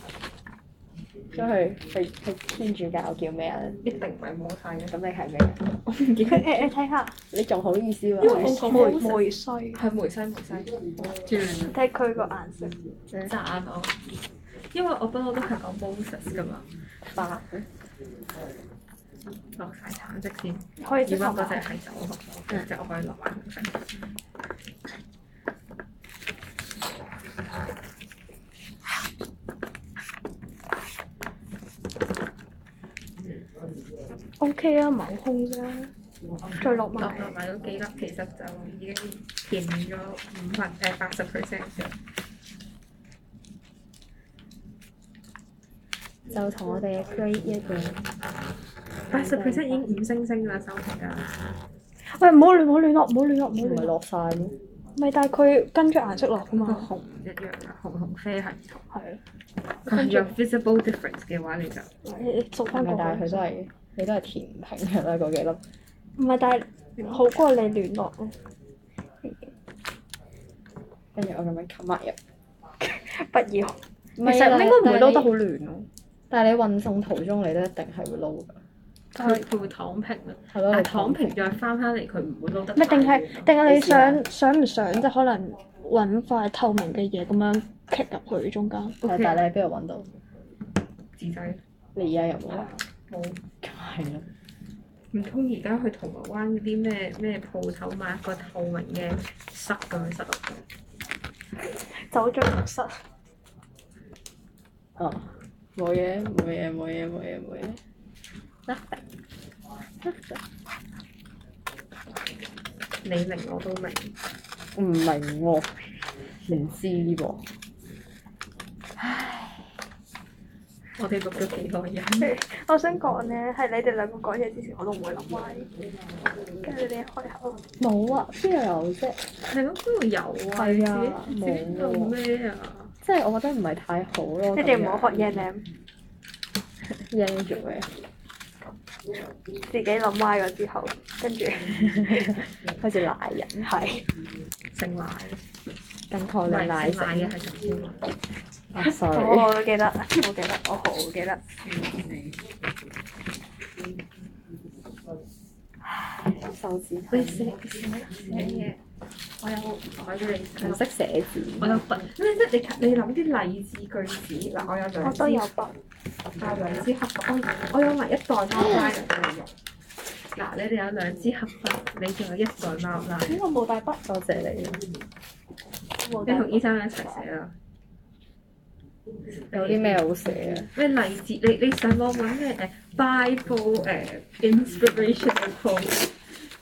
Speaker 4: 咁佢佢佢天主教叫咩啊？
Speaker 1: 一定唔係摩西嘅，
Speaker 4: 咁你係咩啊？
Speaker 1: 我唔記得。
Speaker 2: 佢誒誒睇下，
Speaker 4: 你仲好意思話
Speaker 1: 因為我講
Speaker 2: 梅
Speaker 1: Moses
Speaker 2: 梅衰，
Speaker 1: 係梅西梅西。
Speaker 3: 轉
Speaker 2: 睇佢個顏色。
Speaker 1: 讚我，因為我不嬲都係講 Moses 噶嘛，
Speaker 4: 白？
Speaker 1: 落晒橙色先。
Speaker 2: 可以
Speaker 1: 如
Speaker 2: 接
Speaker 1: 果
Speaker 2: 受
Speaker 1: 嗰
Speaker 2: 埋
Speaker 1: 隻係酒紅，即係我可以落埋紅色。
Speaker 2: O K 啊，冇空啫，再落
Speaker 1: 我
Speaker 2: 埋。
Speaker 1: 落埋咗幾粒，其實就已經填滿咗五百誒八十 percent
Speaker 4: 就同我哋嘅 grade 一樣。
Speaker 1: 八十 percent 已經五星星啦，收皮㗎。
Speaker 2: 喂，唔好亂，唔好亂落，唔好亂落，唔好
Speaker 4: 唔
Speaker 2: 亂落。
Speaker 4: 係落晒咩？
Speaker 2: 咪但係佢跟住顏色落噶
Speaker 1: 個
Speaker 2: 嘛，
Speaker 1: 紅唔一樣㗎，紅紅啡係唔同。
Speaker 2: 係
Speaker 1: 佢有 visible difference 嘅話，你就
Speaker 2: 咯，你你做
Speaker 4: 係
Speaker 2: 翻個
Speaker 4: 咪？但係
Speaker 2: 顏
Speaker 4: 佢都
Speaker 2: 色。
Speaker 4: 係你都係填平㗎啦，嗰幾粒。
Speaker 2: 唔係，但係好過你亂落咯。
Speaker 4: 跟住我咁樣冚埋入。
Speaker 2: 不要，
Speaker 4: 唔
Speaker 2: 其實應該唔會撈得好亂咯。
Speaker 4: 但係你運送途中你都一定係會撈㗎。
Speaker 1: 佢佢會躺平咯，
Speaker 4: 係咯，
Speaker 1: 但係
Speaker 4: 你
Speaker 1: 哦躺平再翻翻嚟，佢唔會撈得
Speaker 6: 咪
Speaker 1: 太
Speaker 6: 定係
Speaker 1: 遠咯
Speaker 6: 定係你
Speaker 4: 你試下
Speaker 6: 想想唔想即係可能揾塊透明嘅嘢咁樣棘入去中間？
Speaker 4: 係但係你喺邊度揾到？
Speaker 1: 自製
Speaker 4: 你而家有冇啊？
Speaker 1: 冇。
Speaker 4: 係咯，
Speaker 1: 唔通而家去銅鑼灣嗰啲咩咩鋪頭買一個透明嘅塞咁樣塞落去？
Speaker 2: 走咗浴室，
Speaker 4: 哦，冇嘢，冇嘢，冇嘢，冇嘢，冇嘢。
Speaker 1: 你明我都明，
Speaker 4: 唔明喎，唔知喎。
Speaker 1: 我哋錄咗幾啊多人？
Speaker 2: 我想講咧，係你哋兩個講嘢之前，我都唔會諗歪，跟住你哋開口，
Speaker 4: 冇啊，邊度有啫？
Speaker 1: 係咯，邊度有啊？
Speaker 4: 係啊
Speaker 1: 你自己自己做
Speaker 4: 冇
Speaker 1: 咩啊？
Speaker 4: 即係我覺得唔係太好咯。
Speaker 2: 你哋唔好學嘢舐，
Speaker 4: 嘢做嘅，
Speaker 2: 自己諗歪咗之後，跟住
Speaker 4: 開始賴人，
Speaker 2: 係
Speaker 1: 姓賴，啊
Speaker 4: 更確
Speaker 1: 唔
Speaker 4: 定
Speaker 1: 係
Speaker 4: 賴
Speaker 1: 姓賴
Speaker 4: 食
Speaker 1: 嘅。係陳天華。
Speaker 4: 啊
Speaker 2: 我
Speaker 4: ，sorry，
Speaker 2: 我記得，我記得，我好記得。
Speaker 4: 手指
Speaker 1: 你寫寫寫嘢，我有改咗你
Speaker 4: 唔識寫字。
Speaker 1: 我有筆，咩啫？你睇你諗啲勵志句子嗱，我有兩
Speaker 2: 我
Speaker 1: 支
Speaker 2: 都有筆，
Speaker 1: 啊兩支黑筆，我我有埋一袋貓拉嚟用。嗱，你哋有兩支黑筆，你仲有一袋貓拉，
Speaker 4: 咦，我冇帶筆，多謝你。
Speaker 2: 冇
Speaker 1: 你同醫
Speaker 2: 得。
Speaker 1: 生一齊寫啦。
Speaker 4: 有啲咩好寫啊？
Speaker 1: 咩勵志？你你上網揾咩誒 Bible 誒 inspirational quote，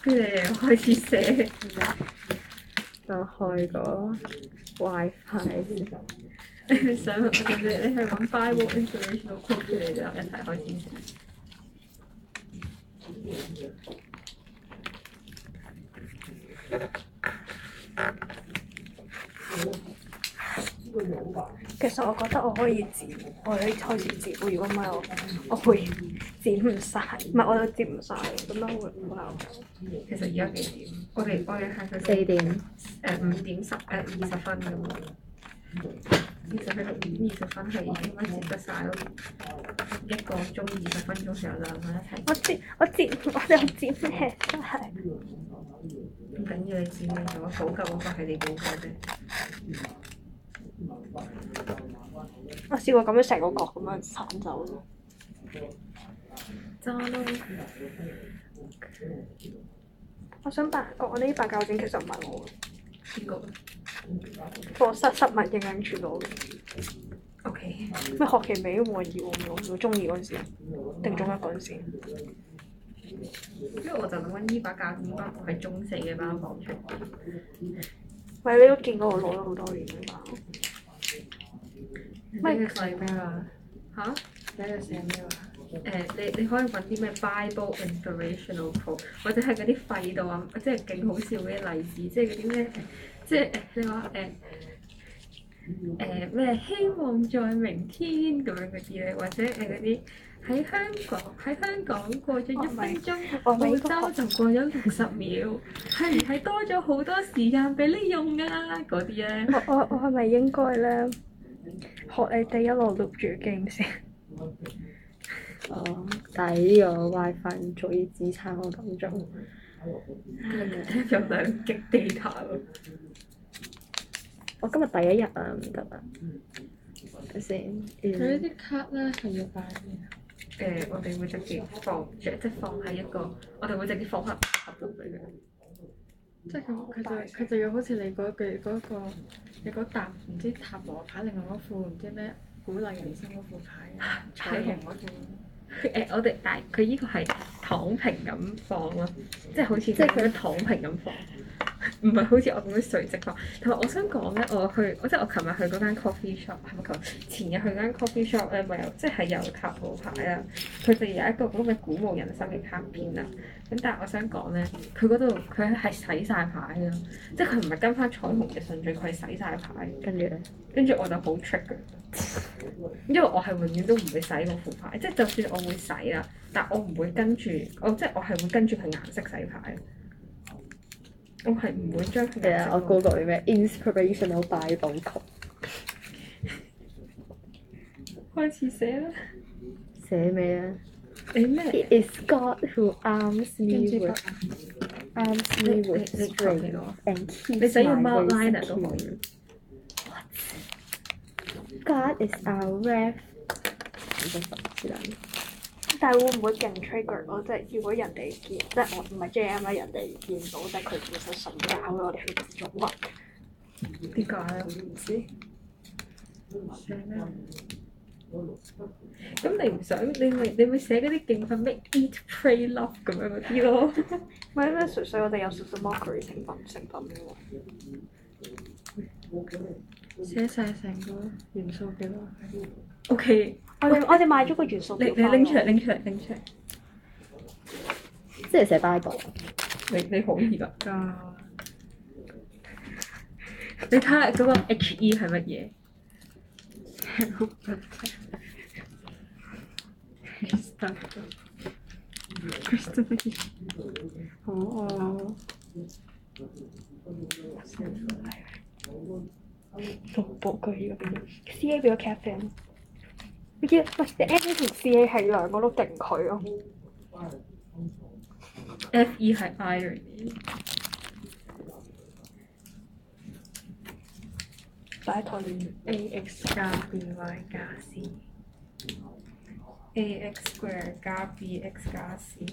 Speaker 1: 跟住你哋開始寫。
Speaker 4: 就開個 WiFi 先。
Speaker 1: 你想你你係揾 Bible inspirational quote，跟住你就一齊開始寫。
Speaker 2: 其實我覺得我可以剪，我可以開始剪。如果唔係我，我會剪唔晒，唔係我都剪唔晒，咁樣會好難。
Speaker 1: 其實而家幾點？我哋我哋係佢
Speaker 4: 四點。
Speaker 1: 誒五點十誒二十分咁樣，二十分二十分係應該接得晒咯。一個鐘二十分鐘就有兩個一齊，
Speaker 2: 我剪，我剪， 我哋剪咩？真係
Speaker 1: 唔緊要你剪嘅咗，補救嗰個係你補救啫。
Speaker 2: 我試過咁樣成個角咁樣散走。
Speaker 1: 揸咯，
Speaker 2: 我想扮我呢扮教剪其實唔係我，
Speaker 1: 邊個
Speaker 2: 課室失物營養處到嘅。
Speaker 1: ？OK，
Speaker 2: 咩學期尾換二換我我中意嗰陣時，定中一嗰陣時。
Speaker 1: 因為我就諗緊呢把教點包係中四嘅包放出，
Speaker 2: 咪你都見過我攞咗好多年㗎嘛？
Speaker 3: 你嘅寫咩話？
Speaker 1: 嚇、
Speaker 3: 你喺度寫咩話？
Speaker 1: 誒、你你可以揾啲咩 Bible inspirational quote，或者係嗰啲廢到啊，即係勁好笑嘅例子，即係嗰啲咩，即係誒你話誒誒咩希望在明天咁樣嗰啲咧，或者誒嗰啲喺香港喺香港過咗一分鐘，
Speaker 2: 我美國
Speaker 1: 澳洲就過咗六十秒，係唔係多咗好多時間俾你用啊？嗰啲 咧，
Speaker 2: 我我我係咪應該咧學你哋一路錄住 game 先？
Speaker 4: 哦，但係呢個 WiFi 唔足以支撐我咁做。
Speaker 1: 有 兩極 data 咯，
Speaker 4: 我今日第一日啊，唔得啊。等先。
Speaker 3: 佢
Speaker 4: 嗯
Speaker 3: 呢啲卡咧係要擺邊啊？
Speaker 1: 誒、我哋會直接放，即係放喺一個，我哋會直接放喺盒度俾佢。
Speaker 3: 即係咁，佢就佢就要好似你嗰句嗰個你嗰沓唔知塔羅牌，另外嗰副唔知咩鼓勵人生嗰副牌，啊彩虹嗰副。
Speaker 1: 誒、我哋但係佢依個係躺平咁放咯，即係好似即
Speaker 4: 係
Speaker 1: 係佢躺平咁放，唔係好似我咁樣垂直放。同埋我想講咧，我去我即係我琴日去嗰間 coffee shop，係咪琴日？前日去間 coffee shop 咧，咪有即係有塔羅牌啦，佢哋有一個咁嘅鼓舞人生嘅卡片啦。咁但係我想講咧，佢嗰度佢係洗晒牌嘅，即係佢唔係跟翻彩虹嘅順序，佢係洗晒牌。
Speaker 4: 跟住咧，
Speaker 1: 跟住我就好 trick 嘅，因為我係永遠都唔會洗嗰副牌，即係就算我會洗啦，但我唔會跟住，我即係我係會跟住佢顏色洗牌，我係唔會將佢
Speaker 4: 係
Speaker 1: 顏
Speaker 4: 啊，
Speaker 1: 色
Speaker 4: 我 Google 啲咩 inspirational Bible 曲，
Speaker 1: 開始寫啦，
Speaker 4: 寫咩啊？
Speaker 1: 你咩？
Speaker 4: It is God who arms
Speaker 3: 跟
Speaker 4: me
Speaker 3: 住
Speaker 4: with arms
Speaker 1: 你
Speaker 4: me
Speaker 1: 你
Speaker 4: with
Speaker 1: 你求其
Speaker 4: strength
Speaker 1: 我，
Speaker 4: and keeps
Speaker 1: 你想要
Speaker 4: my
Speaker 1: Mount
Speaker 4: ways
Speaker 1: Liner 都可以。
Speaker 4: secure. God is our ref。是啦
Speaker 2: 但係會唔會勁 trigger 咯？即係如果人哋見，即係我唔係 J M 啦，人哋見到即係佢本身信教咯，我哋唔知做乜。
Speaker 1: 點解啊？
Speaker 2: 唔知
Speaker 1: 咁你唔想，你咪你咪寫嗰啲勁訓咩 Eat Pray Love 咁樣嗰啲咯。
Speaker 2: 唔係咩？純粹我哋有少少 mockery 成分成分嘅喎。
Speaker 3: 寫晒成個元素表落去。
Speaker 1: O K，
Speaker 2: 我哋我哋買咗個元素
Speaker 1: 你
Speaker 2: 表
Speaker 1: 你
Speaker 2: 翻
Speaker 1: 拎出嚟，拎出嚟，拎出嚟。
Speaker 4: 即係寫 Bible。
Speaker 1: 你你可以㗎。
Speaker 3: 噶
Speaker 1: 你睇下嗰個 H E 係乜嘢？
Speaker 3: Krista Krista 好我
Speaker 6: 同步佢呢個 C A 俾咗 captain，
Speaker 2: 你見喂你 M A 同 C A 係兩個都勁佢咯。
Speaker 1: F E 係 irony，
Speaker 6: 擺喺台面。
Speaker 3: A X 加 B Y 加
Speaker 1: A X square 加 B X 加 C。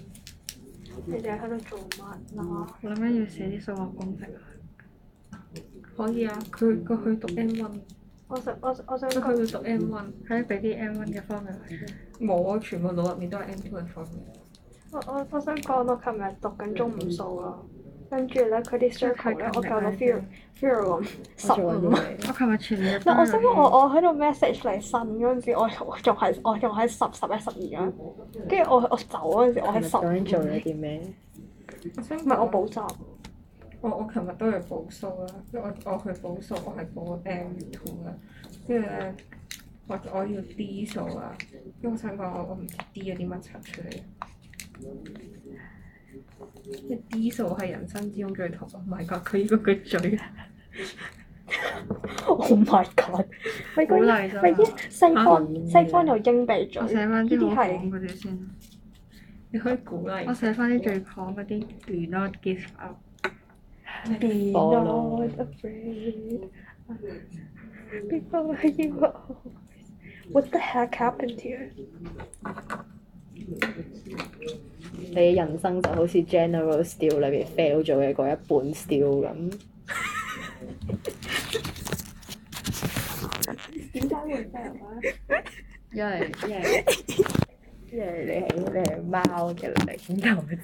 Speaker 2: 你哋喺度做乜啦？
Speaker 3: 我諗緊要寫啲數學公式啊！
Speaker 1: 可以啊，佢佢去讀 M one，
Speaker 2: 我想我我想
Speaker 1: 佢
Speaker 2: 講，
Speaker 1: 去到讀 M one。
Speaker 3: 喺俾啲 M one 嘅方面出嚟。
Speaker 1: 冇啊，全部腦入面都係 M two 嘅方面。
Speaker 2: 我我我想講，我琴日讀緊中午數咯，跟住咧佢啲 circle 咧，我教到 feel feel 咁十五。
Speaker 3: 我琴日全日
Speaker 2: 唔係，我
Speaker 3: 都
Speaker 2: 想
Speaker 3: 有
Speaker 2: 講我我喺度 message 你信嗰陣時，我我仲係我仲喺十十一十二咁，跟住我我走嗰陣時，我喺
Speaker 4: 係咪
Speaker 2: 十
Speaker 4: 究竟做
Speaker 2: 五，
Speaker 4: 咗啲咩？
Speaker 1: 我想
Speaker 2: 唔係我補習，
Speaker 1: 我我琴日都去補數啦，因為我我去補數，我係補 M two 啦，跟住咧我我要 D 數啦，因為我想講我我唔知 D 咗啲乜柒出嚟。啊即係 D 數係人生之中最痛，Oh my god！佢呢個佢嘴，啊
Speaker 4: Oh my god！
Speaker 2: 咪
Speaker 3: 鼓
Speaker 2: 嗰啲
Speaker 3: 勵啫
Speaker 2: 咪
Speaker 3: 嘛。
Speaker 2: 啲西方西方有英鼻嘴，
Speaker 3: 我
Speaker 2: 呢
Speaker 3: 寫翻
Speaker 2: 啲
Speaker 3: 啲好
Speaker 2: 係
Speaker 3: 講嗰啲先。
Speaker 1: 你可以鼓
Speaker 3: 我
Speaker 1: 勵。
Speaker 3: 寫翻啲最講嗰啲 do not give up。
Speaker 2: be not afraid before you go. What the heck happened here？
Speaker 4: 你嘅人生就好似 General Steel 裏邊 fail 咗嘅嗰一半 Steel 咁。
Speaker 2: 點解會 fail 咧？
Speaker 4: 因為因為因為你係你係貓嘅領導者，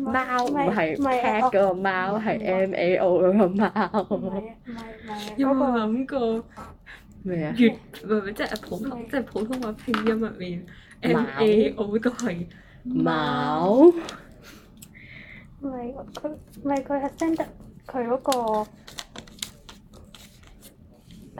Speaker 4: 貓唔係
Speaker 2: 唔係
Speaker 4: cat 嗰個貓，係 M A O 嗰個
Speaker 2: 唔
Speaker 4: 貓。
Speaker 2: 係唔係
Speaker 1: 有
Speaker 2: 嗰
Speaker 1: 冇
Speaker 2: 個
Speaker 1: 諗過
Speaker 4: 咩啊？
Speaker 1: 粵唔係唔係即係普通即係普通話拼音入面
Speaker 4: 貓
Speaker 1: M A O 都係
Speaker 4: 貓
Speaker 2: 唔係佢唔係佢係 send 得佢嗰個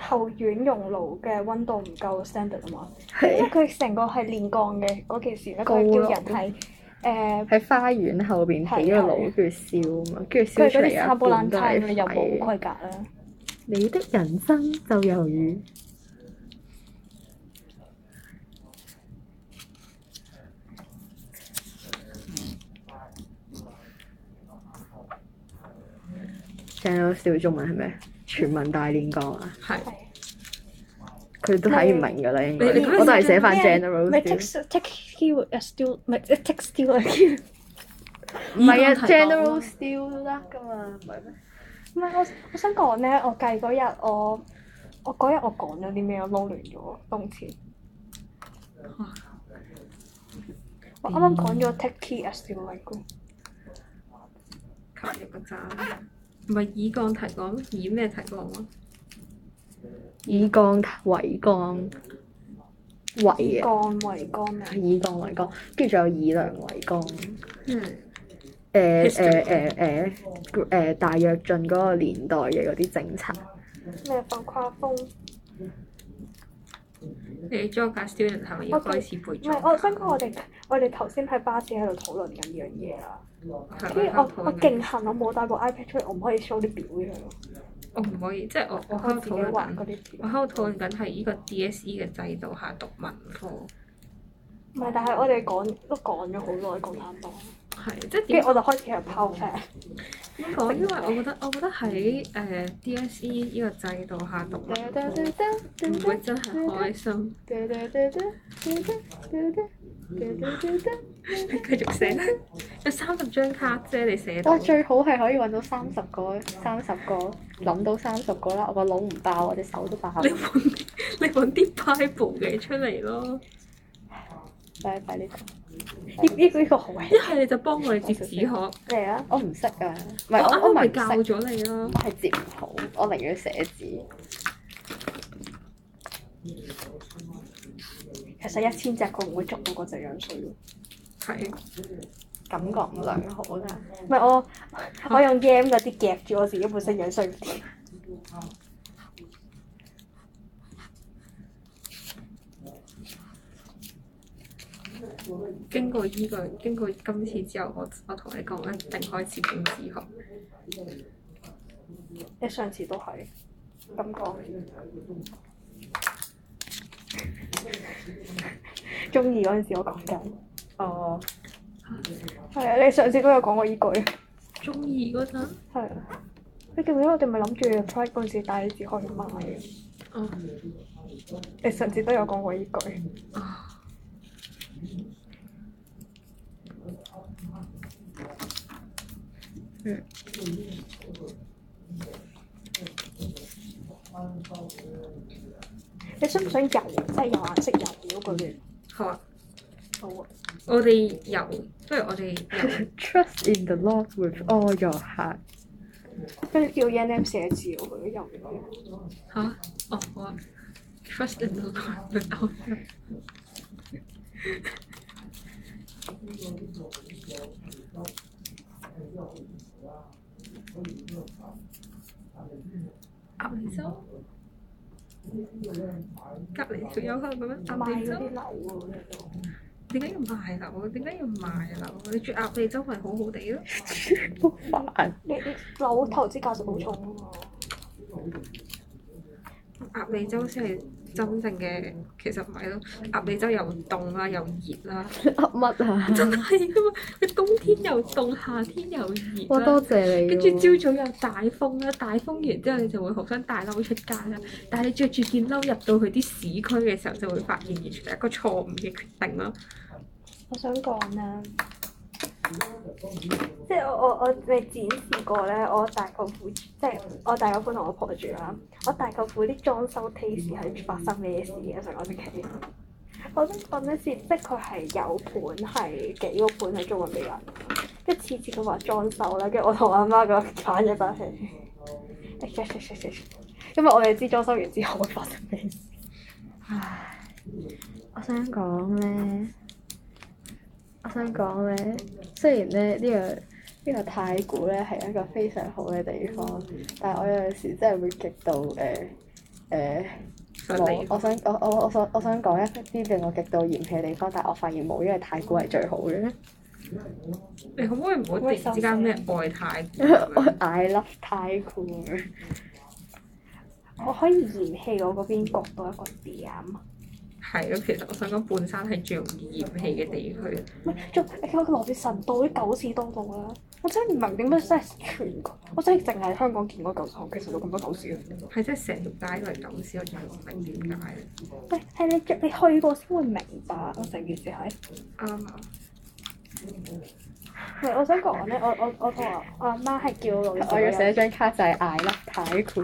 Speaker 2: 後院熔爐嘅温度唔夠 standard 啊嘛，即係佢成個係煉鋼嘅嗰件事咧，啊佢
Speaker 4: 高
Speaker 2: 叫
Speaker 4: 咯
Speaker 2: 人係誒
Speaker 4: 喺花園後邊起個爐，跟住燒啊嘛，跟住
Speaker 2: 佢
Speaker 4: 燒
Speaker 2: 係
Speaker 4: 出
Speaker 2: 嗰
Speaker 4: 嚟
Speaker 2: 啲
Speaker 4: 有
Speaker 2: 沙煲
Speaker 4: 一半
Speaker 2: 冷
Speaker 4: 都
Speaker 2: 餐，你又冇
Speaker 4: 係
Speaker 2: 規
Speaker 4: 廢。
Speaker 2: 格啊啦。
Speaker 4: 你的人生就猶如正到笑中文係咩？全民大練講啊！
Speaker 1: 係
Speaker 4: 佢都睇唔明㗎啦，應該
Speaker 1: 你你
Speaker 4: 我都係寫翻 general
Speaker 2: 唔係
Speaker 4: Steel
Speaker 2: text text skill as uh, still 唔係啊 text skill as
Speaker 4: 唔係啊
Speaker 1: 呢個題目
Speaker 4: ，general Steel 都得㗎嘛，唔係咩？
Speaker 2: 唔係我我想講咧，我計嗰日我我嗰日我講咗啲咩，我撈亂咗動詞。我
Speaker 1: 嗯
Speaker 2: 啱啱講咗 take key as still like
Speaker 1: 求入個站，唔係以降提降咩？以咩提降啊？
Speaker 4: 以鋼為鋼，為啊，
Speaker 2: 幹為幹名。
Speaker 4: 以鋼為鋼，跟住仲有以量為鋼。
Speaker 1: 嗯，
Speaker 4: 誒
Speaker 1: History
Speaker 4: 誒誒誒誒大躍進嗰個年代嘅嗰啲政策，
Speaker 2: 咩放跨風？
Speaker 1: 你 j o g student 係咪要開始背
Speaker 2: 唔
Speaker 1: 誦？
Speaker 2: 係，我想講我哋我哋頭先喺巴士喺度討論緊呢樣嘢啦。
Speaker 1: 係
Speaker 2: 跟
Speaker 1: 咪
Speaker 2: 住
Speaker 1: 香
Speaker 2: 我
Speaker 1: 港
Speaker 2: 我
Speaker 1: 嘅
Speaker 2: 勁恨我冇帶部 iPad 出嚟，我唔可以 show 啲表俾佢咯。
Speaker 1: 我唔可以，即係我我
Speaker 2: 我
Speaker 1: 喺
Speaker 2: 自
Speaker 1: 度
Speaker 2: 己
Speaker 1: 討論
Speaker 2: 畫
Speaker 1: 緊我
Speaker 2: 嗰，啲表。
Speaker 1: E 喺度討論緊係呢個 DSE 嘅制度下讀文科，
Speaker 2: 唔係，但係我哋講都講咗好耐共產黨，
Speaker 1: 係即係
Speaker 2: 跟
Speaker 1: 點
Speaker 2: 住我就開始喺度拋 f
Speaker 1: 點講？因為我覺得我覺得喺誒、呃 DSE 呢個制度下讀文科唔會真係開心， 繼續寫啦。有三十張卡啫，你寫到
Speaker 4: 哇！。最好係可以揾到三十個，三十個諗到三十個啦，我個腦唔爆，啊我隻手都爆。
Speaker 1: 你揾你揾啲 Bible 嘅出嚟咯，
Speaker 4: 快快呢個，呢呢個呢個好
Speaker 1: 一係你就幫我哋接紙殼，
Speaker 4: 嚟啊！我唔識啊，唔
Speaker 1: 我
Speaker 4: 係我
Speaker 1: 啱
Speaker 4: 我
Speaker 1: 啱
Speaker 4: 唔
Speaker 1: 咪
Speaker 4: 係
Speaker 1: 教
Speaker 4: 識，
Speaker 1: 咗你咯
Speaker 4: 我。係接唔好，我寧願寫字。
Speaker 2: 其實一千隻佢唔會捉到嗰隻樣水咯，
Speaker 1: 係，
Speaker 4: 感覺唔良好啊啦。
Speaker 2: 唔係我我用 game 嗰啲夾住我自己本身樣衰啲，
Speaker 1: 經過依、個經過今次之後，我我同你講，我一定開始整紙殼。
Speaker 2: 你上次都係咁講，中意嗰陣時我講緊，
Speaker 4: 哦，
Speaker 2: 係啊，你上次都有講過依句，
Speaker 1: 中意嗰陣，
Speaker 2: 係啊，你記唔記得我哋咪諗住 Pride 嗰陣時帶啲紙可以賣嘅？
Speaker 1: 哦
Speaker 2: 你上次都有講過依句，
Speaker 1: 啊，
Speaker 2: 嗯你想唔想油？即係有顏色油嗰句嘢？
Speaker 1: 好啊，
Speaker 2: 好啊，
Speaker 1: 我哋由不如我哋由
Speaker 4: Trust in the Lord with all your heart。
Speaker 2: 跟住叫 Yanam 寫字喎，佢啲油料。
Speaker 1: 嚇、哦好啊，trust in the Lord with all your 鴨脷洲，隔離仲有香港咩？鴨
Speaker 2: 賣
Speaker 1: 脷
Speaker 2: 嗰啲
Speaker 1: 洲
Speaker 2: 樓喎，
Speaker 1: 點解要賣樓？點解要賣樓？你住鴨脷洲咪好好地咯？
Speaker 4: 好煩。
Speaker 2: 你你樓投資價值好重啊嘛，
Speaker 1: 鴨脷洲先係真正嘅，其實唔係咯。鴨脷洲又凍啦，又熱啦，
Speaker 4: 噏 乜啊？
Speaker 1: 真係噶嘛！佢 冬天又凍，夏天又熱
Speaker 4: 哇！多
Speaker 1: 啦。
Speaker 4: 謝你
Speaker 1: 跟
Speaker 4: 喎。
Speaker 1: 住朝早又大風啦，大風完之後你就會好想大褸出街啦。但係你着住件褸入到去啲市區嘅時候，就會發現完全係一個錯誤嘅決定啦。
Speaker 2: 我想講咧，即係我我我未展示過咧，我大舅父即係我大舅父同我婆住啦，我大舅父啲裝修 taste 係發生咩事嘅上我屋企。我想講咧，即係佢係有盤係幾個盤係租緊俾人，跟住次次佢話裝修啦，跟住我同阿媽個反咗 翻嚟，因為我哋知裝修完之後會發生咩事。
Speaker 4: 我想講咧，我想講咧，雖然咧呢、個呢、個太古咧係一個非常好嘅地方，但係我有陣時真係會極度誒誒
Speaker 1: 想
Speaker 4: 冇
Speaker 1: 你。
Speaker 4: 我想我我我想我想講一啲令我極度嫌棄嘅地方，但係我發現冇，因為太古係最好 嘅。
Speaker 1: 你可唔可以唔好突然之間咩外太古
Speaker 4: 我
Speaker 1: 咁 樣
Speaker 4: I love 太 古咁樣
Speaker 2: 我可以嫌棄我嗰邊焗到一個點，
Speaker 1: 係咯，其實我想講半山係最容易嫌棄嘅地區。
Speaker 2: 唔係仲你睇我羅志神道啲狗屎多到啦！我真係唔明點解真係全國，我真係淨係香港見過狗屎行，其實有咁多狗屎嘅。
Speaker 1: 係真係成條街都係狗屎，我真係唔明點解。
Speaker 2: 喂，係你你去過先會明白，我成件事係。
Speaker 1: 啱啊！
Speaker 2: 唔係，我想講咧，我我我同我我阿媽係叫我老
Speaker 4: 我要
Speaker 2: 寫。
Speaker 4: 寫一張卡就係 I love 太古。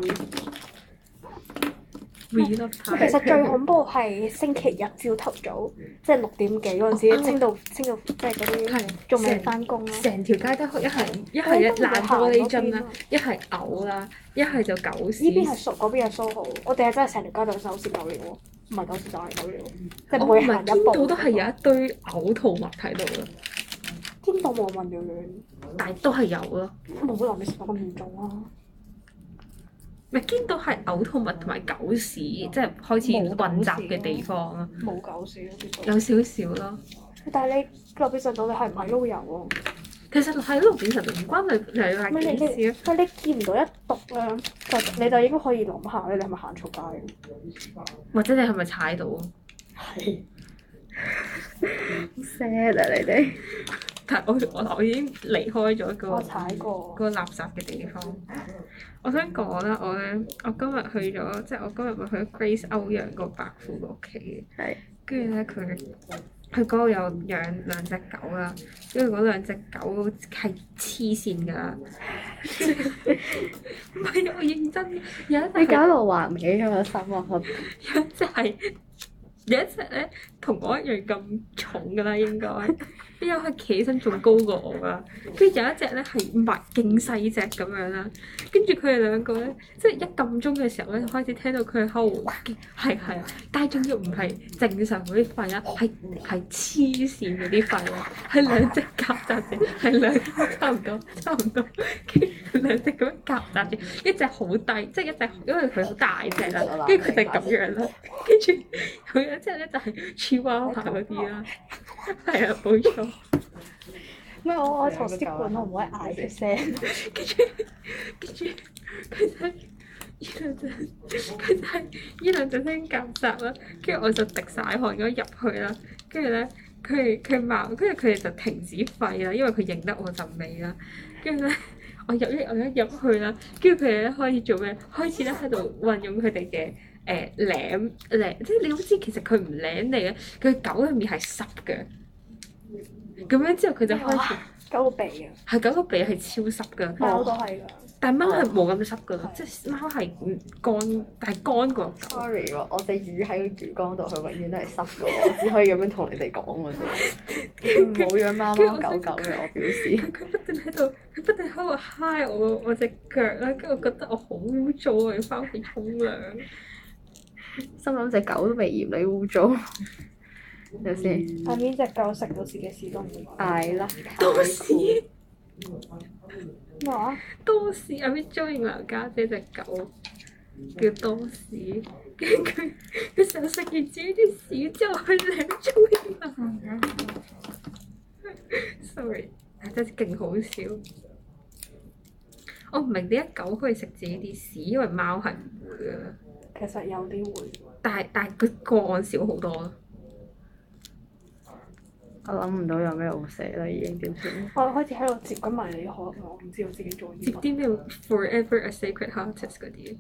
Speaker 1: We love
Speaker 2: 其
Speaker 1: 太古
Speaker 2: 實最恐怖係星期日朝頭早，即係六點幾嗰陣時，清到清到即係嗰啲
Speaker 1: 係
Speaker 2: 仲未翻工咯。
Speaker 1: 成條街都一係一係一爛玻璃樽啊啦，一係嘔啦，一係就狗
Speaker 2: 呢
Speaker 1: 屎。
Speaker 2: 邊係熟，嗰邊係蘇豪。我哋係真係成條街都係狗屎狗尿喎，唔係狗屎就係狗尿，即係
Speaker 1: 我唔
Speaker 2: 每行
Speaker 1: 係
Speaker 2: 一
Speaker 1: 見
Speaker 2: 步
Speaker 1: 到都係有一堆嘔吐物喺度咯，
Speaker 2: 天道無問了亂，
Speaker 1: 但係都係有咯。
Speaker 2: 冇可能你食到咁嚴重啊！
Speaker 1: 咪見到係嘔吐物同埋狗屎，即係開始混雜嘅地方咯，
Speaker 2: 冇狗屎咯，絕對
Speaker 1: 有少少咯。
Speaker 2: 但係你落邊上到你係唔係撈油喎？
Speaker 1: 其實喺路邊實唔關你你係啊
Speaker 2: 唔係
Speaker 1: 幾
Speaker 2: 你
Speaker 1: 時
Speaker 2: 你
Speaker 1: 咯，
Speaker 2: 喂你見唔到一篤咧，就你就應該可以諗下咧，你係咪行錯街？
Speaker 1: 啊或者你係咪踩到？
Speaker 2: 係。
Speaker 5: sad 啊你哋。
Speaker 1: 但係我我我已經離開咗個
Speaker 4: 我踩過，
Speaker 1: 個垃圾嘅地方。我想講啦，我咧我今日去咗，即係我今日咪去 Grace 歐陽個伯父個屋企嘅。
Speaker 5: 係
Speaker 1: 跟住咧，佢佢嗰度有養兩隻狗啦，跟住嗰兩隻狗係黐線㗎。唔係，我認真嘅有一隻係
Speaker 4: 你搞到華美咁樣心啊！
Speaker 1: 有一隻係有一隻咧同我一樣咁重㗎啦，應該。跟住佢企起身仲高過我啦，跟住有一隻咧係唔係勁細隻咁樣啦，跟住佢哋兩個咧，即係一撳鐘嘅時候咧，就開始聽到佢喺度，係係，啊但係仲要唔係正常嗰啲吠啦，係係黐線嗰啲吠啦，係兩隻夾雜住，係兩差唔多差唔多，跟住兩隻咁樣夾雜住，一隻好低，即係一隻因為佢好大隻啦，跟住佢哋咁樣啦，跟住佢有一隻咧就係黐娃娃嗰啲啦，係啊冇錯。
Speaker 4: 唔係我我圖書館我唔可以嗌出 聲，
Speaker 1: 跟住跟住佢就係呢兩隻，佢就係呢兩隻聲夾雜啦。跟住我就滴晒汗咁入去啦。跟住咧，佢佢矛，跟住佢哋就停止吠啦，因為佢認得我陣味啦。跟住咧。 我入一我一入去啦，跟住佢哋咧開始做咩？開始咧喺度運用佢哋嘅誒舐舐，即係你好知其實佢唔舐你嘅，佢狗入面係濕嘅。咁樣之後佢就開始
Speaker 2: 狗鼻啊，
Speaker 1: 係狗個鼻係超濕㗎。
Speaker 2: 貓都係㗎。
Speaker 1: 但貓係冇咁濕噶，即係貓係唔乾，但係乾過狗。
Speaker 4: Sorry 喎，我隻魚喺個魚缸度，佢永遠都係濕嘅，我只可以咁樣同你哋講嘅啫。冇養貓貓狗狗嘅，我表
Speaker 1: 佢
Speaker 4: 示。
Speaker 1: 佢不斷喺度，佢不斷喺度揩我我隻腳啦，跟住我覺得我好污糟啊，要翻屋企沖涼。
Speaker 5: 心諗只狗都未嫌你污糟，有先
Speaker 4: 嗯
Speaker 2: 下面只狗食到自己屎都唔會講。
Speaker 4: 嗌啦，
Speaker 1: 多士
Speaker 2: 咩話？
Speaker 1: 多士，阿邊張穎良家姐隻狗叫多士，跟住佢佢成日食完自己啲屎之後，佢舐張穎良。Sorry，真係勁好笑。我唔明點解狗可以食自己啲屎，因為貓係唔會嘅。
Speaker 2: 其實有啲會。
Speaker 1: 但係但係佢個案少好多咯。
Speaker 5: 我諗唔到有咩好寫啦，已經點算？
Speaker 2: 我開始喺度接緊埋你可，我唔知道自己做
Speaker 1: 接
Speaker 2: 啲乜。
Speaker 1: 啲咩 Forever a Sacred Heartist 嗰啲，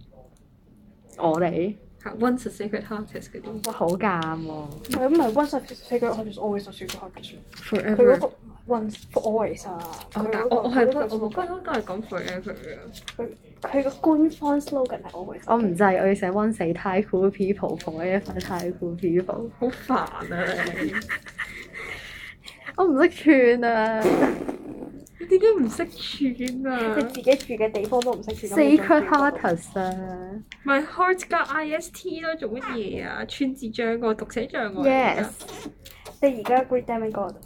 Speaker 5: 我哋
Speaker 1: 嚇 Once a Sacred Heartist 嗰啲，
Speaker 5: 哇好尷喎
Speaker 2: 佢唔係 once I say good, I just always say good, I just。佢嗰
Speaker 3: Forever
Speaker 2: 個 once for always 啊。
Speaker 1: 我
Speaker 2: 佢
Speaker 1: 哦但
Speaker 2: 嗰個
Speaker 1: 我我係
Speaker 2: 佢嗰個
Speaker 1: 我嗰都都係講 Forever 嘅，
Speaker 2: 佢個官方 slogan 係 always。
Speaker 5: 我唔制，我要寫 One Say Thai Cool People Forever Thai Cool People，
Speaker 1: 好煩啊你！
Speaker 5: 我唔識串啊
Speaker 1: 你點解唔識串啊
Speaker 2: 你自己住嘅地方都唔識住。
Speaker 5: ，Secret Hearters 啊
Speaker 1: 咪 Heart 加 IST 咯，做乜嘢啊？串字障礙、讀寫障礙嚟㗎
Speaker 5: ，Yes
Speaker 2: 你而家 Great Diamond God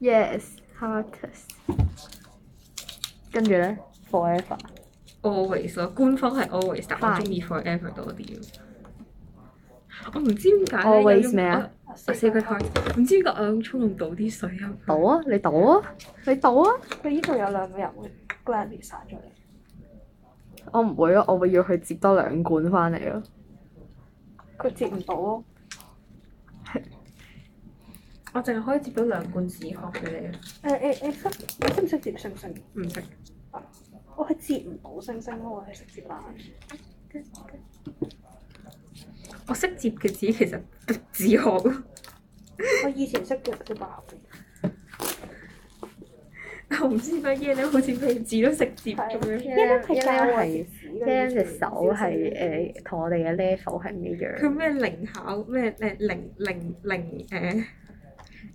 Speaker 5: Yes Hearters，跟住咧 Forever。
Speaker 1: always 咯，官方係 always，但我
Speaker 5: Fine
Speaker 1: 中意 forever 多啲。我唔知點解咧
Speaker 5: Always
Speaker 1: 有種
Speaker 5: 咩啊
Speaker 1: 我我 Sacred Heart，唔知點解我有種衝動倒啲水入去。
Speaker 5: 賭啊！你賭啊！你賭啊！
Speaker 2: 佢呢度有兩個人會 gladly 殺咗你。
Speaker 5: 我唔會啊咯，我會要去接多兩罐翻嚟啊咯。
Speaker 2: 佢接唔到咯，
Speaker 1: 我淨係可以接到兩罐止殼俾你啊！
Speaker 2: 誒誒誒，識你識唔識接星星？
Speaker 1: 唔識，
Speaker 2: 我係接唔到星星咯，我係識接啦。
Speaker 1: 我識接嘅止其實止殼，
Speaker 2: 我以前識接接百合嘅，
Speaker 1: 我唔知乜嘢咧，好似佢字都識接咁樣。
Speaker 2: 一粒係啊教我
Speaker 5: 係即係隻手係誒同我哋嘅 level 係唔一
Speaker 1: 佢
Speaker 5: 樣。
Speaker 1: 咩靈巧咩誒靈靈靈誒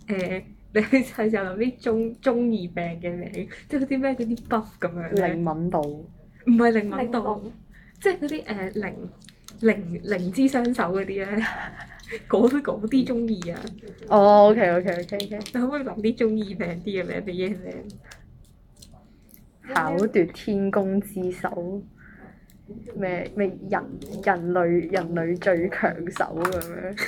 Speaker 1: 誒，你係就諗啲中中二病嘅名，即係嗰啲咩嗰啲 buff 咁樣
Speaker 5: 靈
Speaker 1: 咧，
Speaker 5: 敏度
Speaker 1: 唔係靈敏
Speaker 2: 令
Speaker 1: 度
Speaker 2: 到，
Speaker 1: 即係嗰啲誒靈靈靈之雙手嗰啲咧， 嗰嗰啲中意啊！
Speaker 5: 哦，OK OK OK OK，
Speaker 1: 你可唔可以諗啲中二病啲嘅名俾嘢名？
Speaker 5: 巧奪天工之手，咩咩人人類人類最強手咁 樣，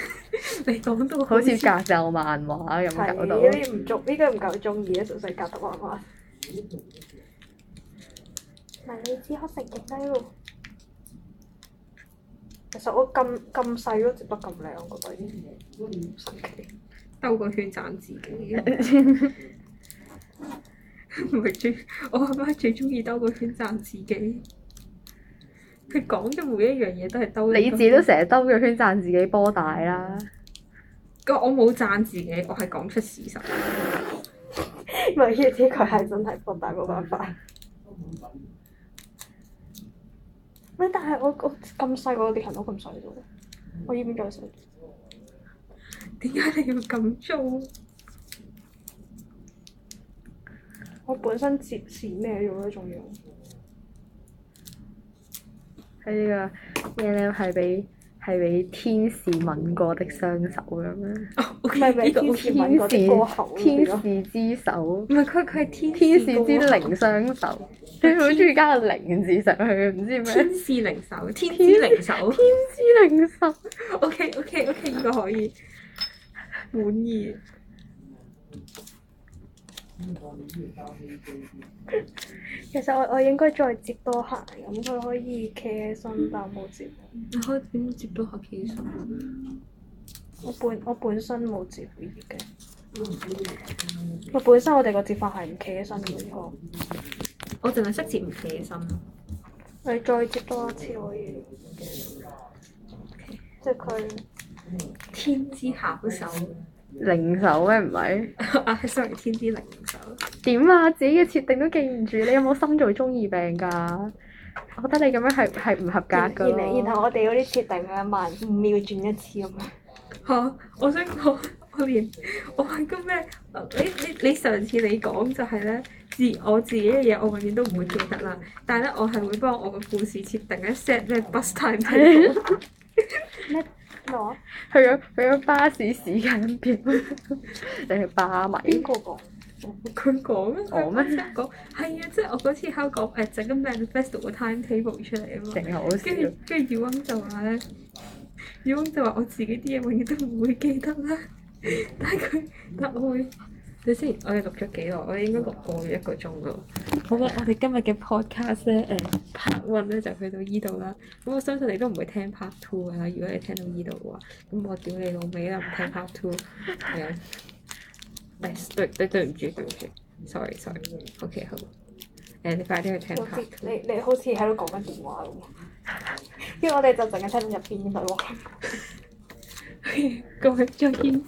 Speaker 1: 你講到
Speaker 5: 好似格鬥漫畫咁
Speaker 2: 係
Speaker 5: 搞
Speaker 2: 呢
Speaker 5: 到。
Speaker 2: 啲唔中，呢個唔夠中意啊，純粹夾得玩玩。迷你只可食極低咯。其實我咁咁細都接得咁靚，我覺得已經好神奇。
Speaker 1: 兜個圈讚自己。 唔係最，我阿媽最中意兜個圈讚自己。佢講嘅每一樣嘢都係兜。
Speaker 4: 你自己都成日兜個圈讚自己波大啦，
Speaker 1: 個我冇讚自己，我係講出事實。
Speaker 2: 唔係，呢啲佢係真係放大冇辦法。咩？但係我我咁細個啲人都咁細啫喎，我要唔要再細？
Speaker 1: 點解你要咁做？
Speaker 2: 我本身接是咩咗咧？仲要
Speaker 4: 喺呢個 E M 係俾係俾天使吻過的雙手咁樣，
Speaker 1: 哦
Speaker 2: 唔係 唔係
Speaker 1: 呢個
Speaker 2: 天使吻嗰啲歌喉
Speaker 4: 天
Speaker 2: 咯，
Speaker 4: 使之手，
Speaker 1: 唔係佢佢係天
Speaker 4: 天使之
Speaker 1: 之
Speaker 4: 靈雙手，你好中意加個零字上去，唔知 咩？
Speaker 1: 天使靈手，天之靈手。
Speaker 4: 之零手，
Speaker 1: O K O K O K，呢個可以滿意。
Speaker 2: 其實我我應該再接多下，咁佢可以企起身，但我冇接。
Speaker 1: 你可以點接到下其實？
Speaker 2: 我本我本身冇接已經。我本身我哋個接法係唔企起身嘅呢個。
Speaker 1: 我淨係識接唔企起身咯。
Speaker 2: 你再接多一次可以。即係佢
Speaker 1: 天之巧手
Speaker 4: 零手咩唔係？
Speaker 1: 啊，sorry，天之靈手。
Speaker 4: 點啊？自己嘅設定都記唔住，你有冇心做中二病㗎？我覺得你咁樣係係唔合格
Speaker 2: 然
Speaker 4: 㗎
Speaker 2: 然然
Speaker 4: 咯。
Speaker 2: 後我哋嗰啲設定係慢五秒轉一次咁樣。
Speaker 1: 嚇、我想講，我連我係個咩？哦你你你上次你講就係咧，自我自己嘅嘢，我永遠都唔會記得啦。但係咧，我係會幫我個故事設定一 set 咩 bus time table
Speaker 2: 咩話？
Speaker 4: 去咗去咗巴士時間表， 你係巴
Speaker 2: 邊
Speaker 4: 米。
Speaker 2: 個講？
Speaker 1: 佢講啊，佢
Speaker 4: 我咩
Speaker 1: 本身講係啊，即係我嗰次喺度講誒整個 manifesto 個 time table 出嚟啊嘛。
Speaker 4: 勁好笑
Speaker 1: 跟，住跟住耀翁就話咧，耀翁就話我自己啲嘢永遠都唔會記得啦，但係佢但我會。你先，我哋錄咗幾耐？我哋應該錄過一個鐘咯。好啦，我哋今日嘅 podcast 咧，誒 part one 咧就去到依度啦。咁我相信你都唔會聽 part two 噶啦。如果你聽到依度嘅話，咁我屌你老味啦，唔聽 part two。係啊，誒對對對唔住對唔住，sorry sorry。OK 好。誒你快啲去聽
Speaker 2: 好似
Speaker 1: part two。
Speaker 2: 你你好似喺度講緊電話咁喎，跟住我哋就淨係聽到入邊嘅對話。
Speaker 1: 各位再見。